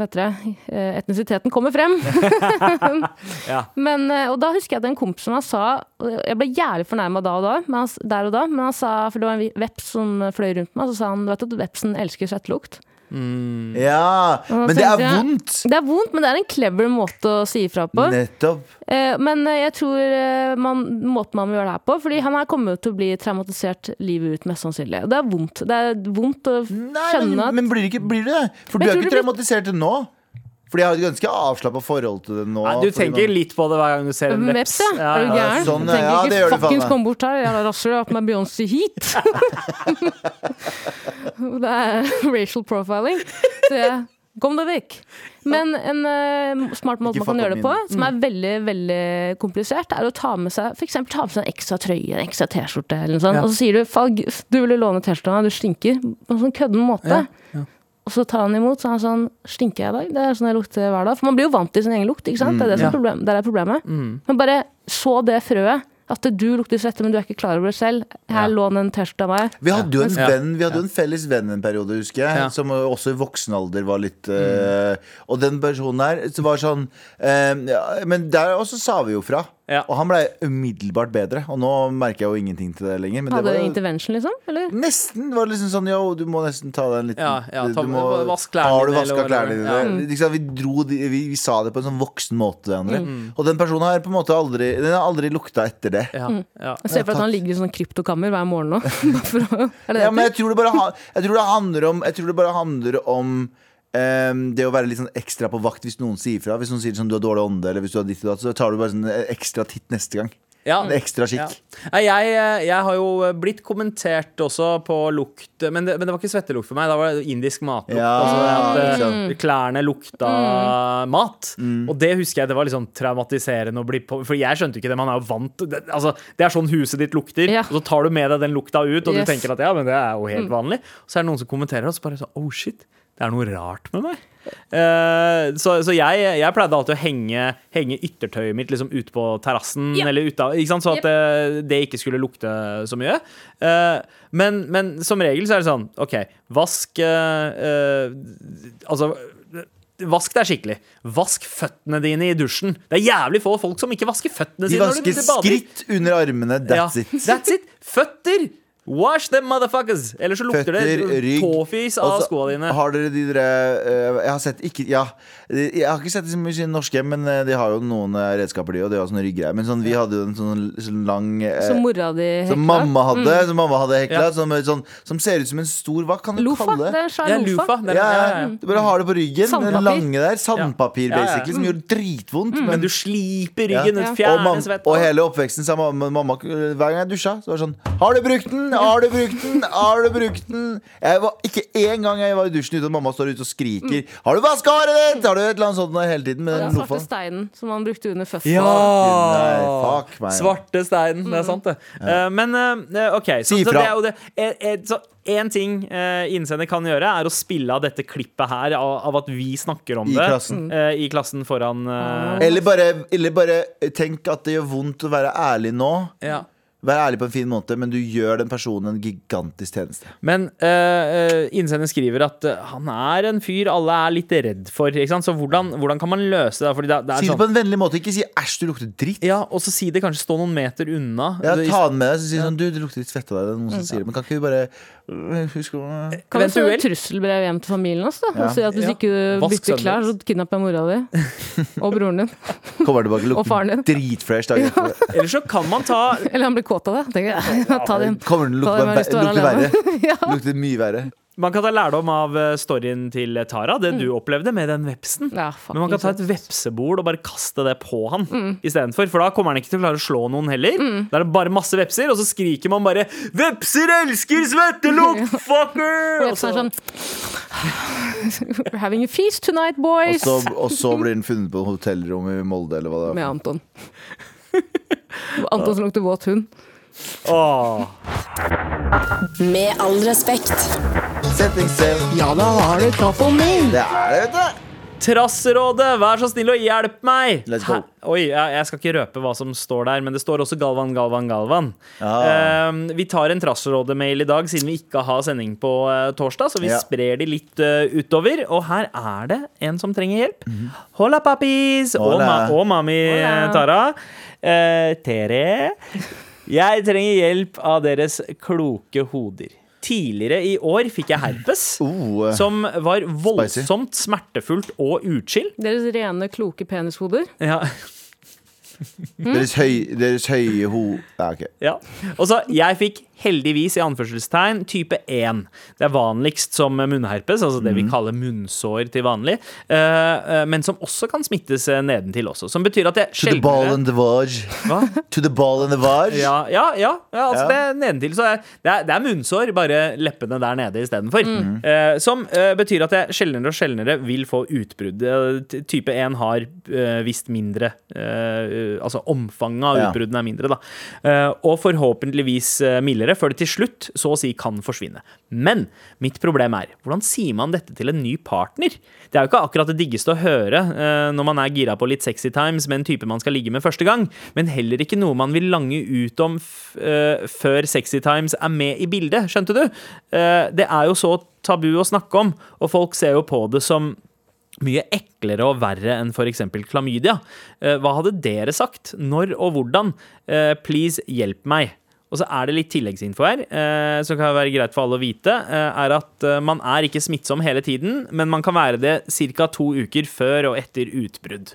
C: vet dere, eh, etnisiteten kommer frem.
B: Ja.
C: <laughs> men, eh, og da husker jeg at en kompis som han sa og Jeg ble jævlig fornærma da og da, men han, s- der og da, men han sa For det var en vi- veps som fløy rundt meg, så sa han Vet du at vepsen elsker svettelukt?
D: Ja,
C: Og da
D: men det er
C: tenkte jeg-
D: vondt!
C: Det er vondt, men det er en clever måte å si ifra på.
D: Nettopp.
C: Eh, Men eh, jeg tror eh, man, måten man må gjøre det her på Fordi han her kommer jo til å bli traumatisert livet ut, mest sannsynlig. Og det er vondt. Det er vondt å
D: Nei, men,
C: skjønne at
D: men blir det ikke blir det? det? For
C: Men
D: du er
C: tror
D: ikke
C: du blir-
D: traumatisert til nå. Fordi jeg har et ganske avslappa forhold til det nå.
B: Nei, du
D: fordi
B: tenker
D: man-
B: litt på det hver gang du ser en
C: Veps,
B: veps.
C: ja. Er du gæren?
D: sånn,
C: Jeg
D: ja,
C: tenker
D: det gjør
C: ikke
D: du faen
C: fuckings
D: meg.
C: kom bort her, jævla rasshøl, opp med Beyoncé hit! <laughs> det er racial profiling. Så jeg, kom deg vekk! Men en eh, smart måte
D: Ikke fuck Mm.
C: man kan gjøre
D: opp
C: det på,
D: mine.
C: som er veldig veldig komplisert, er å ta med seg for eksempel, ta med seg en ekstra trøye, en ekstra T-skjorte, eller noe sånt. Og så sier du Falg, du ville låne T-skjorta, du stinker. På en sånn kødden måte. Og så tar han imot, så er han sånn Stinker jeg i dag? Det er sånn jeg lukter
D: Mm,
C: hver dag. For man blir jo vant til sin egen lukt, ikke sant? Det er det som er problem, der er problemet. Men bare så det frøet. At du lukter svette, men du er ikke klar over det selv. Her, lån en T-skjorte av meg.
D: Vi hadde jo en,
B: Ja.
D: venn, vi hadde jo en felles venn en periode, husker jeg,
B: Ja. Mm.
D: som også i voksen alder var litt eh, Og den personen her så var sånn eh, ja, Men der også sa vi jo fra.
B: Ja.
D: Og han blei umiddelbart bedre. Og nå merker jeg jo ingenting til det lenger. Men det
C: Hadde
D: var jo
C: intervention, liksom? Eller?
D: Nesten var det liksom sånn Yo, du må nesten ta deg en liten
B: Ja, ja, ta-
D: du må,
B: vask klærne
D: Har du
B: dine, eller
D: vaska
B: whatever.
D: klærne dine? Ikke sant, vi, dro, de- vi, vi sa det på en sånn voksen måte til
B: Mm.
D: hverandre. Og den personen har på en måte aldri Den har aldri lukta etter det.
B: Ja, ja.
C: Mm. Jeg ser for at han ligger i sånn kryptokammer hver morgen nå. <laughs> Bare for å- er det
D: Ja,
C: det
D: men jeg tror det bare, ha- jeg tror det handler om, jeg tror det bare handler om ehm, det å være litt sånn ekstra på vakt hvis noen sier fra. Hvis noen sier sånn, du har dårlig ånde, eller hvis du har ditt og datt, så tar du bare sånn eh, ekstra titt neste gang.
B: Ja.
D: En ekstra kikk.
B: Mm. Ja. Nei, jeg, eh, jeg har jo blitt kommentert også på lukt men det, men det var ikke svettelukt for meg, da var det indisk matlukt.
D: Ja,
B: altså, at,
D: ikke
B: eh, Klærne lukta
C: Mm.
B: mat.
D: Mm.
B: Og det husker jeg det var liksom traumatiserende å bli på For jeg skjønte jo ikke det, man er jo vant det, altså, det er sånn huset ditt lukter,
C: Ja.
B: og så tar du med deg den lukta ut, og
C: Yes. Mm.
B: du tenker at ja, men det er jo helt vanlig. Og så er det noen som kommenterer, og så bare sånn oh shit. Det er noe rart med meg. Eh, så så jeg, jeg pleide alltid å henge, henge yttertøyet mitt liksom ute på terrassen,
C: Ja.
B: eller ute av, ikke sant? så at det, det ikke skulle lukte så mye. Eh, men, men som regel så er det sånn OK, vask eh, eh, Altså Vask deg skikkelig. Vask føttene dine i dusjen. Det er jævlig få folk som ikke vasker føttene
D: De
B: sine. når de
D: vasker
B: bader.
D: skritt under armene, that's
B: Ja,
D: it.
B: That's it. Føtter! Wash them motherfuckers! Ellers så lukter
D: Føtter,
B: det
D: rygg
B: tåfis
D: og
B: av
D: så
B: skoene dine.
D: Har dere de dere eh, Jeg har sett ikke Ja, jeg har ikke sett det så mye i norske, men eh, de har jo noen eh, redskaper, de, og de har sånne ryggreier. Men sånn, vi hadde jo en sånn, sånn lang eh,
C: Som mora di
D: som
C: hekla.
D: mamma hadde, som mamma hadde hekla,
B: Mm. Ja.
D: som, sånn, som ser ut som en stor Hva kan du
C: Lofa.
D: kalle
C: Det er Mm. en svær
B: Ja,
C: lofa.
B: lufa. Det er-
D: ja,
B: ja, ja, ja.
D: Du bare har det på ryggen.
C: Sandpapir.
D: Den lange der. Sandpapir,
B: Ja. Ja, Mm. ja.
D: basically, som gjør dritvondt.
B: Men du sliper ryggen,
C: Ja.
B: ja.
D: og,
B: fjerner
D: mam
B: svett
D: og hele oppveksten sa mamma, mamma Hver gang jeg dusja, så var det sånn Har du brukt den? Har du brukt den? Har du brukt den? Jeg var, ikke én gang jeg var i dusjen uten at mamma står ute og skriker
C: Mm.
D: Har du vaska håret ditt? Har du et eller annet sånt der hele tiden med
C: Den
D: den
C: svarte
D: lofa?
C: steinen som han brukte under føttene.
B: Ja!
D: Nei, fuck meg.
B: Svarte steinen,
C: Mm.
B: det er sant, det. Eh, Men eh, OK. Så,
D: Si
B: så
D: fra.
B: det er jo det. Eh, eh, Så én ting eh, innsender kan gjøre, er å spille av dette klippet her, av, av at vi snakker om
D: I
B: det
C: Mm.
D: klassen.
B: eh, i klassen foran
C: Ah.
B: eh,
D: Eller bare, eller bare eh, tenk at det gjør vondt å være ærlig nå.
B: ja.
D: Vær ærlig på en fin måte, men du gjør den personen en gigantisk tjeneste.
B: Men eh, eh, innsender skriver at eh, han er en fyr alle er litt redd for. Ikke sant? Så hvordan, hvordan kan man løse det? Fordi det, det er
D: Si det på
B: sånn,
D: en vennlig måte. Ikke si 'æsj, du lukter dritt'.
B: ja, og så si det kanskje stå noen meter unna.
D: Ja,
B: Det-
D: ta den med deg og si sånn Du, det lukter litt svette av deg. Det er noen
B: Mm.
D: som sier det. Men kan ikke vi bare øh, Husk å
C: Kan vi sende
B: Eventuelt.
C: et trusselbrev hjem til familien oss, da?
D: Ja.
C: Og si at hvis
B: Ja.
C: ikke du
B: Vask
C: bytter
B: sønnen
C: klær, så kidnapper jeg mora
D: <laughs>
C: di. Og broren din. <laughs>
D: Kommer tilbake og
C: Og faren din.
D: lukter dritfresh dagen etter.
B: Eller så kan man ta
C: Eller han blir kåt av det. Tenker jeg. <laughs> Ta det hjem.
D: Kommer den til å
C: Ta det med hvis
D: lukte
C: du er
D: lukte
C: alene.
D: verre?
C: <laughs> Ja.
D: Lukter mye verre.
B: Man kan ta lærdom av eh, storyen til Tara, det du opplevde med den vepsen.
C: Mm. Ja, fuck,
B: Men man kan ta et vepsebol og bare kaste det på han
C: Mm.
B: istedenfor. For da kommer han ikke til å klare å slå noen heller. Da er det bare masse vepser, og så skriker man bare 'Vepser elsker
C: <laughs>
B: svettelukt, fucker!'
C: Og Jepsen er sånn We're having a feast tonight, boys!
D: Og så, og så blir den funnet på hotellrommet i Molde, eller hva det
C: Med
D: er.
C: Anton. <laughs> Anton som lukter våt hund.
B: Åh.
F: Med all respekt.
D: Settingsstev.
G: Ja, da har du tatt på min.
D: Det er det, vet du!
B: Trasserådet, vær så snill å hjelpe meg!
D: Let's go.
B: Hæ? Oi, jeg, jeg skal ikke røpe hva som står der, men det står også Galvan, Galvan, Galvan.
D: Ah.
B: Eh, vi tar en Trasserådet-mail i dag, siden vi ikke har sending på eh, torsdag. Så vi
D: Ja.
B: sprer de litt eh, utover. Og her er det en som trenger hjelp. Hola, papis! Og, ma
D: Mhm. Hola.
B: og mami eh, Tara. Eh, Tere. Jeg trenger hjelp av deres kloke hoder. Tidligere i år fikk jeg herpes,
D: Oh.
B: som var voldsomt smertefullt og utskill.
C: Deres rene, kloke penishoder.
B: Ja.
C: Mm.
D: Deres, høy, deres høye ho... Ja, ok.
B: Ja. Og så, jeg fikk heldigvis i anførselstegn type 1. Det er vanligst som munnherpes, altså det vi kaller munnsår til vanlig, eh, eh, men som også kan smittes eh, nedentil også. Som betyr at jeg
D: To the ball
B: sjeldnere
D: and the vaj.
B: Hva?
D: To the ball and the vaj.
B: Ja, ja, ja, ja altså
D: Ja.
B: det er nedentil. Så er, det, er, det er munnsår, bare leppene der nede istedenfor.
D: Mhm.
B: Eh, som eh, betyr at jeg sjeldnere og sjeldnere vil få utbrudd. Eh, t- type 1 har eh, visst mindre eh, Altså omfanget av
D: Ja.
B: utbruddene er mindre, da. Eh, og forhåpentligvis eh, mildere. gjøre før det til slutt så å si kan forsvinne. Men mitt problem er, hvordan sier man dette til en ny partner? Det er jo ikke akkurat det diggeste å høre eh, når man er gira på litt sexy times med en type man skal ligge med første gang, men heller ikke noe man vil lange ut om f eh, før sexy times er med i bildet, skjønte du? Eh, det er jo så tabu å snakke om, og folk ser jo på det som mye eklere og verre enn f.eks. klamydia. Eh, Hva hadde dere sagt? Når og hvordan? Eh, Please, hjelp meg. Og så er det litt tilleggsinfo her, eh, som kan være greit for alle å vite, eh, er at eh, man er ikke smittsom hele tiden, men man kan være det ca. to uker før og etter utbrudd.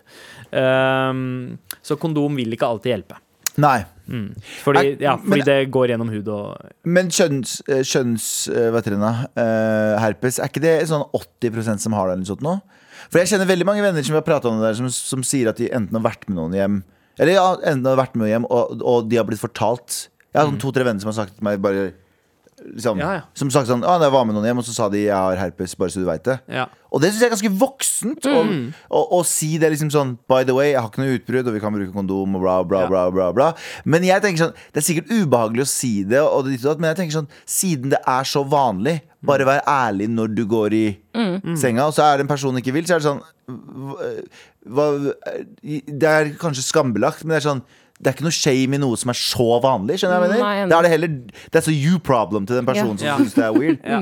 B: Eh, Så kondom vil ikke alltid hjelpe.
D: Nei.
B: Fordi,
D: Er-
B: ja,
D: men-
B: fordi det går gjennom hud og
D: Men kjønns, eh, kjønns eh, hva heter det, nå? Eh, herpes, er ikke det sånn 80 som har det? eller noe sånt nå? For jeg kjenner veldig mange venner som vi har pratet om det der, som, som sier at de enten har vært med noen hjem, eller ja, enten har vært med hjem, og, og de har blitt fortalt. Jeg har sånn to-tre venner som har sagt til meg bare liksom,
B: Mm. Ja, ja.
D: Som sagt sånn, ah, jeg var med noen hjem, og så sa de jeg har herpes, bare så du veit det.
B: Ja. Mm.
D: Og det syns jeg er ganske voksent å, å, å si det liksom sånn By the way, jeg har ikke noe utbrudd, og vi kan bruke kondom, og bla, bla,
B: Ja.
D: bla, bla, bla. Men jeg tenker sånn Det er sikkert ubehagelig å si det, og ditt og datt, men jeg tenker sånn Siden det er så vanlig,
B: Mm.
D: bare vær ærlig når du går i senga, og så er det en person ikke vil, så er det sånn hva- hva, Det er kanskje skambelagt, men det er sånn det er ikke noe shame i noe som er så vanlig. skjønner jeg hva jeg
C: Nei, jeg
D: mener? Da er det heller That's a you problem til den personen
B: Ja.
D: som syns det er weird.
B: Ja,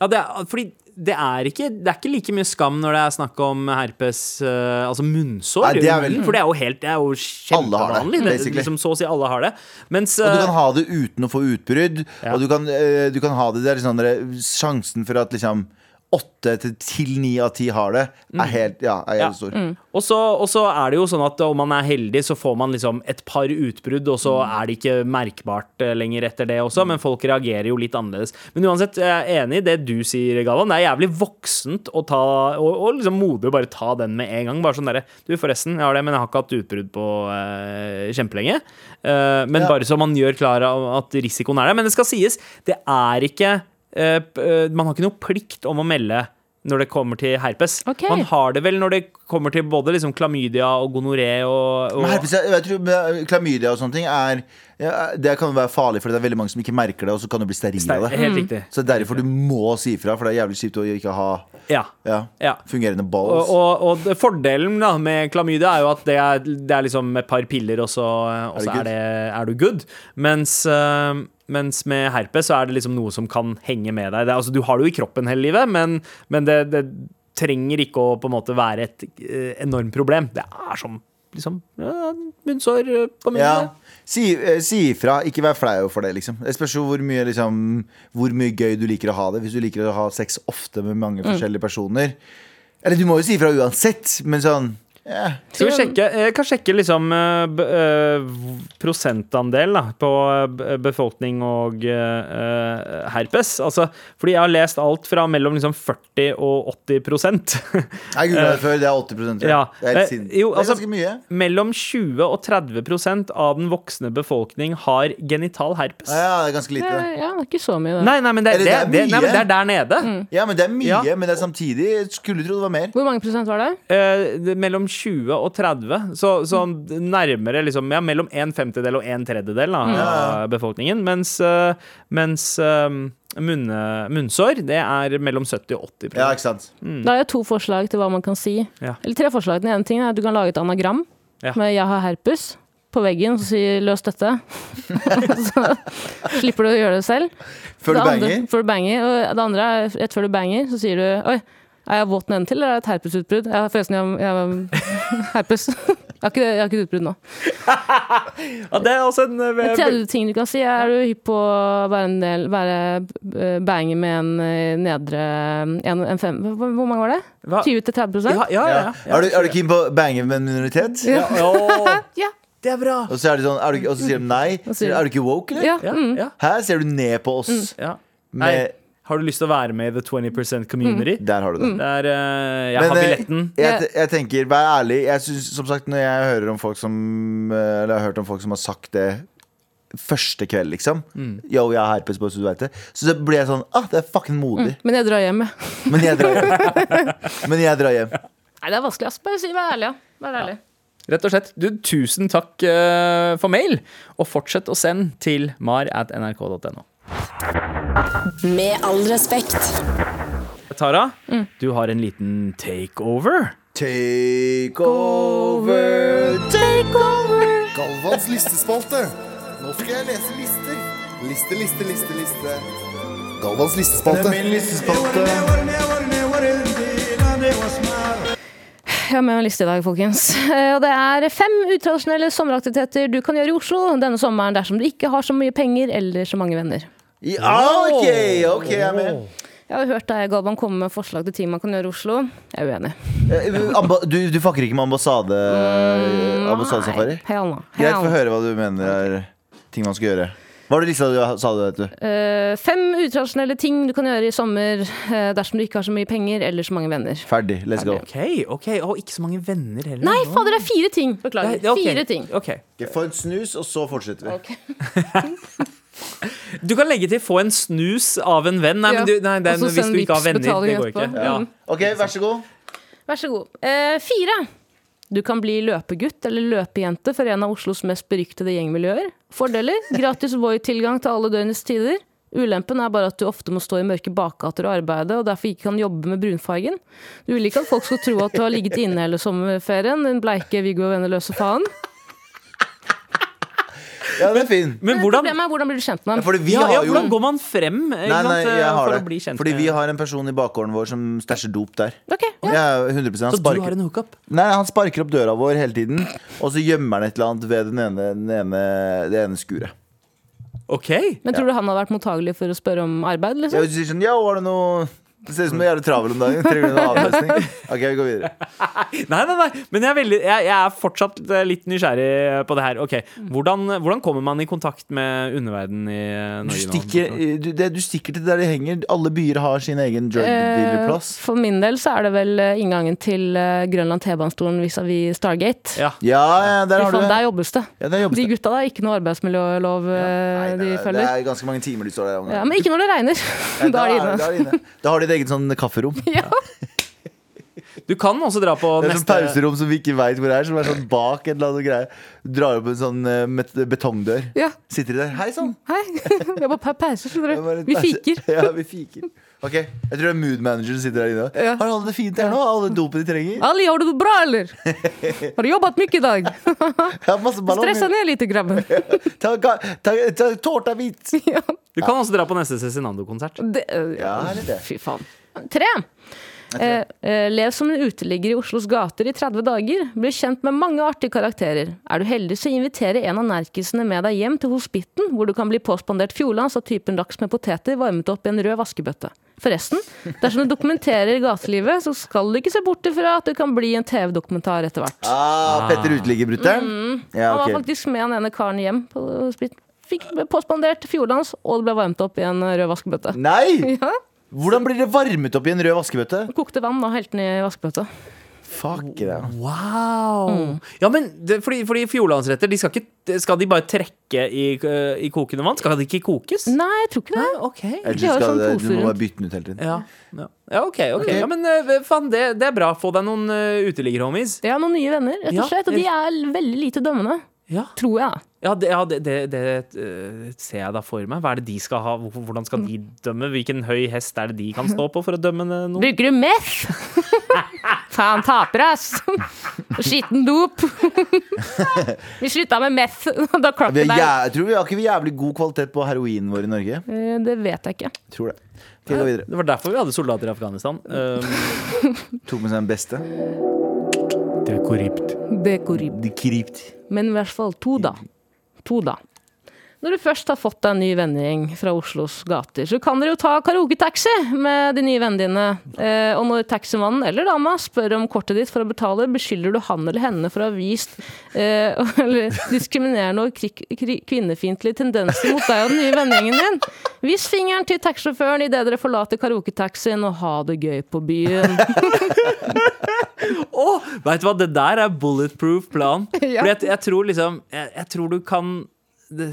B: ja det er, fordi det er, ikke, det er ikke like mye skam når det er snakk om herpes, eh, altså munnsår.
D: Nei, det er vel-
B: For det er jo helt Det er jo
D: Alle har det,
B: kjempevanlig. Det,
D: basically.
B: liksom, så å si alle har det. Mens
D: Og du
B: eh,
D: kan ha det uten å få utbrudd.
B: Ja.
D: Og du kan, eh, du kan ha det der sånn der, Sjansen for at liksom åtte til- til ni av ti har det, er helt, ja, er
B: Mm. Ja. Mm.
D: helt stor.
B: Og så, og så er det jo sånn at om man er heldig, så får man liksom et par utbrudd, og så er det ikke merkbart eh, lenger etter det også, men folk reagerer jo litt annerledes. Men uansett, jeg er enig i det du sier, Galvan. Det er jævlig voksent å ta, og, og liksom modig å bare ta den med en gang. Bare sånn derre Du, forresten, jeg har det, men jeg har ikke hatt utbrudd på eh, kjempelenge. Eh, men
D: Ja.
B: bare så man gjør klar av at risikoen er der. Men det skal sies, det er ikke eh, p- eh, Man har ikke noe plikt om å melde når det kommer til herpes.
C: Ok.
B: Man har det vel når det kommer til både liksom klamydia og gonoré og, og
D: Men herpes, jeg, jeg tror med Klamydia og sånne ting er, ja, det kan jo være farlig, for det er veldig mange som ikke merker det, og så kan du bli steril
B: Nei,
D: av det.
B: Helt riktig.
D: Så derfor du må si ifra, for det er jævlig kjipt å ikke ha
B: Ja.
D: ja,
B: Ja.
D: fungerende
B: Og,
D: balls.
B: og, og det- fordelen da med klamydia er jo at det er, det er liksom et par piller, og så, og så
D: good?
B: er, det, er du good. Mens, eh, mens med herpes så er det liksom noe som kan henge med deg. Det, er- altså, du har det jo i kroppen hele livet, men, men det, det trenger ikke å på en måte være et eh, enormt problem. Det er som liksom ja, munnsår eh, på munnen.
D: Ja. Si, eh, si ifra. Ikke vær flau for det, liksom. Det spørs jo hvor mye, liksom, hvor mye gøy du liker å ha det. Hvis du liker å ha sex ofte med mange
B: Mm.
D: forskjellige personer. Eller du må jo si ifra uansett, men sånn ja.
B: Skal vi sjekke, jeg kan sjekke liksom eh, b- eh, v- prosentandel da, på eh, b- befolkning og eh, eh, herpes. Altså, fordi jeg har lest alt fra mellom liksom 40 og 80 prosent. <laughs>
D: Jeg googla det før, det er 80 tror jeg.
B: Eh. Ja.
D: Det er helt
B: Eh,
D: sin-
B: jo,
D: Det er
B: altså-
D: ganske mye.
B: mellom 20 og 30 prosent av den voksne befolkning har genital herpes.
D: Ja, ja, det er ganske
C: Det
D: lite.
C: er, Eh, ja, det er ikke så mye, det.
B: Nei, nei, men det,
D: Eller
B: det,
D: det er
B: det, nei, men det
D: mye.
B: er der nede.
D: Ja, men det er mye,
B: Ja.
D: men det er samtidig Skulle tro det var mer.
C: Hvor mange prosent var det?
B: Eh, det- mellom 20 og 30. Så, så
D: Mm.
B: nærmere liksom Ja, mellom en femtedel og en tredjedel da,
D: Ja.
B: av befolkningen. Mens, eh, mens eh, munne, munnsår, det er mellom 70 og 80
D: Ja, ikke sant?
C: Da har jeg to forslag til hva man kan si.
B: Ja.
C: Eller tre forslag. Den ene tingen er at du kan lage et anagram
B: Ja.
C: med 'jeg har herpes' på veggen, og så sier 'løs dette'. <laughs> så slipper du å gjøre det selv.
D: Før du
C: det andre,
D: banger.
C: Før du banger. Og det andre er rett før du banger, så sier du 'oi, er jeg våt nedentil, eller er det et herpesutbrudd?' Jeg har forresten jeg, jeg, herpes. <laughs> Jeg har ikke, jeg har ikke utbrudd nå.
B: Ja, det er også en eh,
C: Den tredje tingen du kan si, er du hypp på å være en del Være eh, banger med en eh, nedre en, en fem, Hvor hvor mange var det?
B: Hva?
C: 20-30
B: Ja, ja, ja.
D: Ja. Er du, er du keen på å bange med en minoritet?
B: ja. Åh,
C: <laughs> Ja.
B: det er bra!
D: Og så er det sånn, er du, og så sier de nei.
C: sier de-
D: Er du ikke woke, eller?
C: Ja,
B: Ja,
C: mm.
B: ja,
D: Hæ, ser du ned på oss?
B: ja. Nei,
D: Med,
B: har du lyst til å være med i The 20 Community?
D: der har du det.
B: Det er eh, Jeg
D: Mm. Men,
B: har
D: eh,
B: billetten.
D: Jeg, jeg tenker, vær ærlig jeg synes, Som sagt, når jeg hører om folk som eh, Eller jeg har hørt om folk som har sagt det Første kveld, liksom
B: Mm.
D: Yo, jeg har herpes bare så du vet det Så så blir jeg sånn, ah, det er fucking modig
C: Men jeg drar hjem, jeg. <laughs>
D: Men jeg drar hjem Men jeg drar hjem
C: Nei, det er vanskelig. ass. Bare si, vær ærlig. Ja. Vær ærlig.
B: Rett og slett. Du, tusen takk eh, for mail, og fortsett å sende til mar at nrk.no.
A: Med all respekt.
B: Tara,
C: Mm.
B: du har en liten takeover.
D: Take over.
G: Galvans listespalte. Nå skal jeg lese lister. Liste, liste, liste, liste. Galvans listespalte.
C: Jeg har med meg en liste i dag, folkens. Eh, Og det er fem utradisjonelle sommeraktiviteter du kan gjøre i Oslo denne sommeren dersom du ikke har så mye penger eller så mange venner.
D: Ja, ah, OK, ok, jeg er med.
C: Jeg har hørt deg, Galvan, komme med forslag til ting man kan gjøre i Oslo. Jeg er uenig.
D: Eh, amba- Du, du fucker ikke med ambassade ambassadesafari?
C: Mm, Nei, Hell no.
D: Greit, få
C: Hell no.
D: høre hva du mener er ting man skal gjøre. Hva var det lista du sa du, vet du?
C: Eh, fem utradisjonelle ting du kan gjøre i sommer eh, dersom du ikke har så mye penger eller så mange venner.
D: Ferdig, let's go.
B: OK, ok, og ikke så mange venner heller.
C: Nei, fader, det er fire ting!
B: Nei,
C: Beklager.
B: ok,
C: Fire ting.
B: ok.
D: Ok, Få en snus, og så fortsetter vi.
B: Du kan legge til 'få en snus av en venn'. Nei,
C: Ja.
B: men du, nei det er,
C: Og så
B: hvis
C: send
B: du ikke har
C: Vipps
B: venner, det
C: betaling
B: går ikke.
C: etterpå.
B: Ja.
C: Mm.
D: Ok, vær så god.
C: Vær så god. Eh, fire. Du kan bli løpegutt eller løpejente for en av Oslos mest beryktede gjengmiljøer. Fordeler? Gratis Voi-tilgang til alle døgnets tider. Ulempen er bare at du ofte må stå i mørke bakgater og arbeide, og derfor ikke kan jobbe med brunfargen. Du vil ikke at folk skal tro at du har ligget inne hele sommerferien, den bleike Viggo og venneløse faen.
D: Ja, den er fin.
B: Men hvordan,
C: Problemet er hvordan blir du kjent med
D: Ja,
C: ham?
D: fordi vi
B: ja, ja,
D: har jo
B: hvordan går man frem eh, ikke
D: Nei, nei,
B: sant, eh,
D: jeg har
B: for
D: det.
B: å bli kjent?
D: Fordi
B: med-
D: vi har en person i bakgården vår som stæsjer dop der.
C: Ok, ja.
D: Ja, 100 han
B: Så du har
D: sparker,
B: en hookup?
D: nei, han sparker opp døra vår hele tiden, og så gjemmer han et eller annet ved den ene, den ene, det ene skuret.
B: OK.
C: Men tror du han hadde vært mottagelig for å spørre om arbeid?
D: Ja,
C: Liksom?
D: hvis du sier sånn, ja, var det noe Det ser ut som du er jævlig travel om dagen. Trenger du noe avløsning? Ok, vi går videre.
B: Nei, nei, nei. Men jeg er, veldig, jeg, jeg er fortsatt eh, litt nysgjerrig på det her. Ok, Hvordan, hvordan kommer man i kontakt med underverdenen i eh,
D: Du
B: Norge? nå?
D: stikker, du, det, du stikker til der de henger. Alle byer har sin egen drug dealer-plass.
C: Eh, For min del så er det vel eh, inngangen til eh, Grønland T-banestolen vis-à-vis Stargate.
B: Ja.
D: Ja, ja, der
C: Fy
D: har du
C: faen,
D: det.
C: der jobbes det.
D: Ja, der jobbes
C: De
D: det.
C: gutta der, ikke noe arbeidsmiljølov eh,
D: Nei,
C: de
D: det, er- det
C: følger.
D: er ganske mange timer de står der.
C: Ja, men ikke når det
D: <laughs>
C: regner.
D: Nei,
C: da er de
D: Da,
C: inne.
D: er de inne. da har de et eget sånn kafferom.
C: <laughs>
B: Du kan også dra på
D: Det er sånn et sånt
B: neste
D: pauserom som vi ikke veit hvor er, som er sånn bak et eller annet greie. Drar opp en sånn eh, met- betongdør.
C: Ja,
D: Sitter de der. Hei sann!
C: hei. <laughs> Vi er på pa- pause, skjønner
D: Det var litt
C: du. Vi
D: pause.
C: fiker.
D: <laughs> Ja, vi fiker. Ok, Jeg tror det er mood manageren som sitter der inne.
C: Ja.
D: Har alle det fint her nå? Alle dopene de trenger?
C: Ali, har du det bra,
D: <laughs>
C: eller? Har du jobbet mye i dag?
D: Jeg har masse ballonger.
C: Stressa ned litt, grabben.
D: <laughs> Ta, ta, ta, ta tårta hvit!
C: Ja,
B: Du kan også dra på neste Cezinando-konsert.
C: det, eh,
D: Ja, eller det.
C: Fy faen. Tre. Eh, eh, lev som en uteligger i Oslos gater i 30 dager. Bli kjent med mange artige karakterer. Er du heldig, så inviterer en av nerkisene med deg hjem til hospitten, hvor du kan bli påspandert fjordlands av typen laks med poteter varmet opp i en rød vaskebøtte. Forresten, dersom du dokumenterer gatelivet, så skal du ikke se bort ifra at det kan bli en TV-dokumentar etter hvert.
D: Ah, Petter Uteliggerbryteren? Ja,
C: Mm. Han var
D: ok.
C: faktisk med han ene karen hjem på hospitten. Fikk påspandert fjordlands, og det ble varmet opp i en rød vaskebøtte.
D: Nei!
C: Ja.
D: Hvordan blir det varmet opp i en rød vaskebøtte?
C: Kokte vann og helte ned i vaskebøtta.
D: Fuck det.
B: Wow! Mm. Ja, men det, fordi, fordi fjordlandsretter, de skal, ikke, skal de bare trekke i, eh, i kokende vann? Skal de ikke kokes?
C: Nei, jeg tror ikke det.
B: OK.
D: Ellers
C: De har jo
D: skal
C: sånn
D: det, du
C: pose
D: må
C: rundt.
D: bare bytte den ut hele tiden.
B: Ja, ja. ja OK. ok Ja, Men eh, faen, det, det er bra. Få deg noen uh, uteliggerhomies.
C: Jeg har noen nye venner, rett
B: Ja,
C: og slett. Og de er veldig lite dømmende.
B: Ja.
C: Tror jeg.
B: Ja, det, ja, det, det, det eh, ser jeg da for meg. Hva er det de skal ha? Hvor- Hvordan skal de dømme? Hvilken høy hest er det de kan stå på for å dømme eh, noen?
C: Bruker du meth? <laughs> Faen, taper, ass. Skitten dop. Vi slutta med meth <laughs> da klapp
D: Vi har,
C: det der.
D: jæ- jeg tror vi har ikke vi jævlig god kvalitet på heroinen vår i Norge.
C: Eh, Det vet jeg ikke.
D: Tror det. Skal vi gå videre?
B: Det var derfor vi hadde soldater i Afghanistan. Um,
D: Tok med seg den beste.
B: det er korrupt.
C: Dekorib.
D: De krypt.
C: Men i hvert fall to, da. To, da. Når du først har fått deg en ny vennegjeng fra Oslos gater, så kan dere jo ta karaoketaxi med de nye vennene dine. Eh, og når taximannen eller dama spør om kortet ditt for å betale, beskylder du han eller henne for å ha vist eh, <laughs> eller diskriminerende og kri- kri- kvinnefiendtlige tendenser mot deg og den nye vennegjengen din. Vis fingeren til taxisjåføren idet dere forlater karaoketaxien, og ha det gøy på byen.
B: Å, vet du hva, det der er bulletproof plan.
C: <laughs> Ja.
B: For jeg, jeg tror liksom jeg, jeg tror du kan det,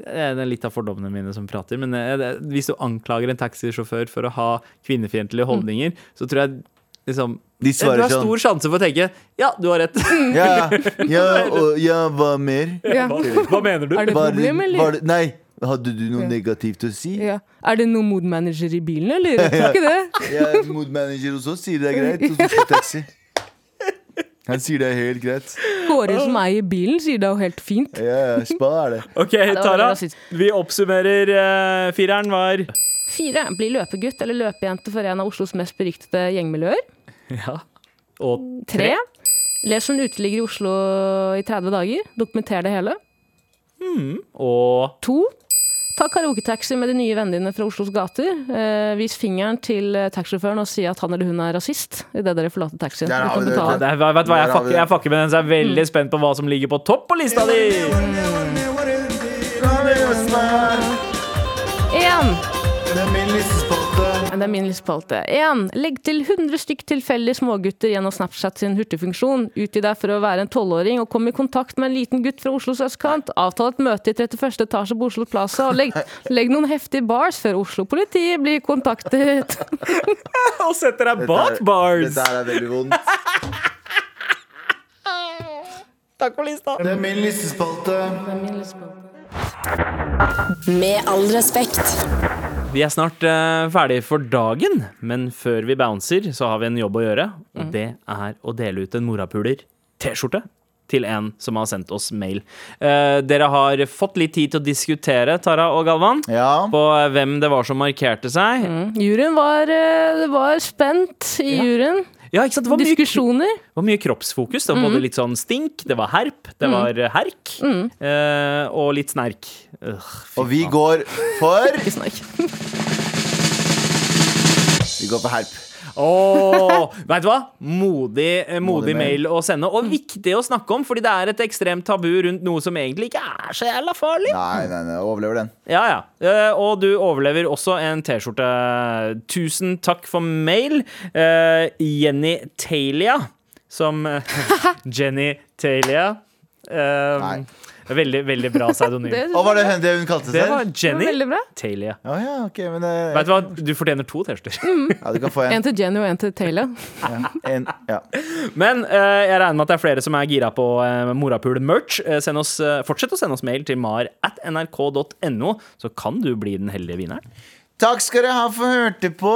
B: eh, det er litt av fordommene mine som prater, men eh, det,
C: Mm.
B: hvis du anklager en taxisjåfør for å ha kvinnefiendtlige holdninger, så tror jeg liksom
D: De
H: Du
D: svarer
H: har
D: sånn.
H: stor sjanse for å tenke Ja, du har rett.
C: Mm.
B: <laughs>
C: <laughs>
D: Ja, ja, og, ja hva mer?
C: <laughs> Ja.
H: Hva mener du?
C: Er det et
D: Var
C: problem,
D: var
C: eller?
D: det- nei, hadde du noe negativt å si?
C: Ja. Er det noen mood manager i bilen, eller? Jeg tror ikke det.
D: Jeg er mood manager hos oss, sier det er greit. Og så skal
C: <laughs>
D: taxi. Han sier det er helt greit.
C: Kåre som eier bilen, sier det er jo helt fint.
D: Ja, ja, spa er det.
B: OK,
C: var
B: Tara.
C: rasist.
B: Vi oppsummerer. eh, fireren var
C: Fire. Bli løpegutt eller løpejente for en av Oslos mest beryktede gjengmiljøer.
B: Ja. Og
C: Tre. Les som uteligger i Oslo i 30 dager. Dokumenter det hele.
B: Og
C: To. Ta karaoketaxi med de nye vennene dine fra Oslos gater. Eh, vis fingeren til eh, taxisjåføren og si at han eller hun er rasist idet dere forlater taxien.
D: Der
C: Du
D: har
C: kan
D: vi det,
C: betale.
D: vet
B: Nei, vet du hva, jeg
D: Der har vi
B: fucker,
D: det.
B: jeg fucker med den, så jeg er veldig spent på hva som ligger på topp på lista di.
C: Én.
I: Det er min listespalte.
C: Det er min listespalte. Én. Legg til 100 stykk tilfeldige smågutter gjennom Snapchat sin hurtigfunksjon. Utgi deg for å være en tolvåring og kom i kontakt med en liten gutt fra Oslos østkant. Avtal et møte i 31. etasje på Oslo Plaza, og legg, legg noen heftige bars før Oslo-politiet blir kontaktet.
B: Og setter deg
D: Dette
B: bak
D: er-
B: bars.
D: Dette her er veldig vondt.
I: Det er min listespalte.
J: Med all respekt.
B: Vi er snart eh, ferdig for dagen, men før vi bouncer, så har vi en jobb å gjøre. Og det er å dele ut en morapuler-T-skjorte til en som har sendt oss mail. Eh, dere har fått litt tid til å diskutere, Tara og Galvan,
D: Ja.
B: på eh, hvem det var som markerte seg.
C: Mm. Juryen var, eh, det var spent i juryen.
B: Ja, ikke sant? Det var mye
C: Diskusjoner.
B: Det var mye kroppsfokus. Det var både litt sånn stink, det var herp, det var eh, herk eh, og litt snerk. Ugh, fy
D: Og vi
B: faen.
D: går for
C: Ikke snakk.
D: Vi går for herp.
B: Åh, vet du hva? Modig, eh, modig
D: Modig mail.
B: mail å sende, og viktig å snakke om, fordi det er et ekstremt tabu rundt noe som egentlig ikke er så jævla farlig.
D: Nei, nei, nei, overlever den.
B: Ja, ja. Eh, og du overlever også en T-skjorte. Tusen takk for mail. Eh, Jenny Talia, som eh, <laughs> Jenny Talia. Eh,
D: Nei.
B: veldig, veldig bra pseudonym.
C: Det,
D: Og var det hun- det hun kalte
B: Det
D: seg?
B: var
C: var
B: Jenny
C: veldig bra.
B: Talia.
D: Å ja, ok, men eh,
B: Vet du hva, du fortjener to T-skjorter.
D: ja, Du kan få en.
C: <laughs> En til Jenny og en til Taylor.
D: en ja.
B: <laughs> Men eh, jeg regner med at det er flere som er gira på eh, Morapul-merch. Eh, send oss, eh, fortsett å sende oss mail til mar at nrk.no, så kan du bli den heldige vinneren.
D: Takk skal dere ha for å hørte på.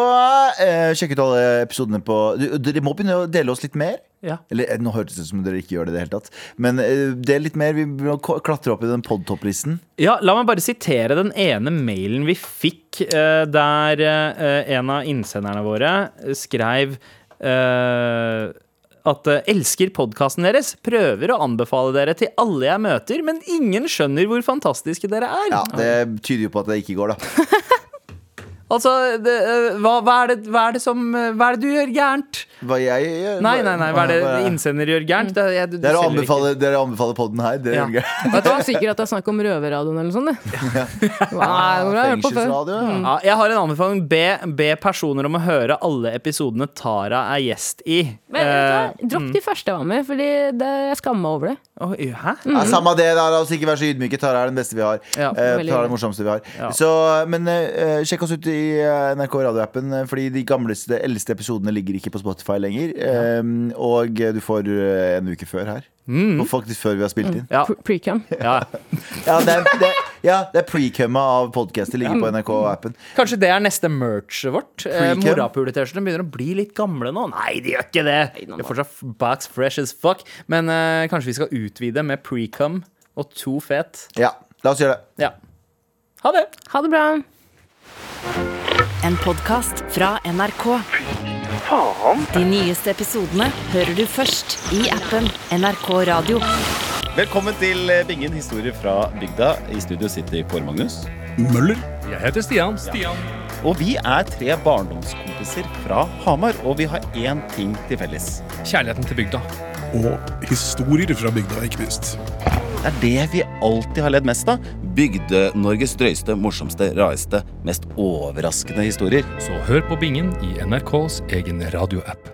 D: Eh, sjekk ut alle episodene på du, Dere må begynne å dele oss litt mer.
B: Ja.
D: Eller eh, Nå hørtes det ut som dere ikke gjør det i det hele tatt. Men eh, del litt mer. Vi må ko- klatre opp i den podtopplisten.
B: Ja, la meg bare sitere den ene mailen vi fikk, eh, der eh, en av innsenderne våre skrev eh, at eh, elsker podkasten deres, prøver å anbefale dere til alle jeg møter, men ingen skjønner hvor fantastiske dere er.
D: Ja, det tyder jo på at det ikke går, da.
B: Altså, det, eh, hva, hva, er det, hva er det som eh, Hva er det du gjør gærent?
D: Hva jeg gjør
B: Nei, nei, nei, hva er det
D: hva-
B: innsender gjør
C: Mm.
B: gærent? Det, er- jeg, du,
D: Dere
B: selger ikke.
D: anbefaler, dere anbefaler podden her. Dere
B: Ja.
D: gjør det.
C: Jeg tror sikkert at det er snakk om røverradioen eller noe sånt. det. Nei, hvor har jeg hørt på før?
D: Ah, Fengselsradio. ja.
B: Ja, jeg har en anbefaling. Be, be personer om å høre alle episodene Tara er gjest i.
C: Men vet du hva?
B: Eh,
C: Dropp de første jeg var med, Fordi det, jeg skammer meg over det.
B: oi, hæ?
C: Mm.
D: Ja, samme det, da. La oss ikke være så ydmyke. Tara er den beste vi har.
B: Ja,
D: Eh,
C: veldig
D: Tara er
C: enig.
D: den morsomste vi har.
B: Ja.
D: Så, men eh, sjekk oss ut i eh, NRK radioappen, eh, fordi de gamleste, eldste episodene ligger ikke på Spotify lenger. Eh, og eh, du får eh, en uke før her. Og faktisk før vi har spilt inn.
B: Mm. Ja,
C: Pre- Precum.
B: ja.
D: Ja, det er, det, ja, det er pre-cumma av podkastet ligger på NRK-appen.
B: Kanskje det er neste merchet vårt. Eh,
D: Precum.
B: Morapuletesjene begynner å bli litt gamle nå. Nei, de gjør ikke det! De er fortsatt f- box fresh as fuck. Men eh, kanskje vi skal utvide med precum og to fet.
D: Ja, la oss gjøre det.
B: Ja. Ha det!
C: Ha det bra.
A: En podkast fra NRK. De nyeste episodene hører du først i appen NRK Radio.
G: Velkommen til Bingen historier fra bygda. I studio sitter Kåre Magnus. Møller. Jeg heter Stian. Og vi er tre barndomskompiser fra Hamar, og vi har én ting til felles.
K: og historier fra bygda, ikke minst.
G: Det er det vi alltid har ledd mest av. Bygde-Norges drøyeste, morsomste, rareste, mest overraskende historier.
L: Så hør på Bingen i NRKs egen radioapp.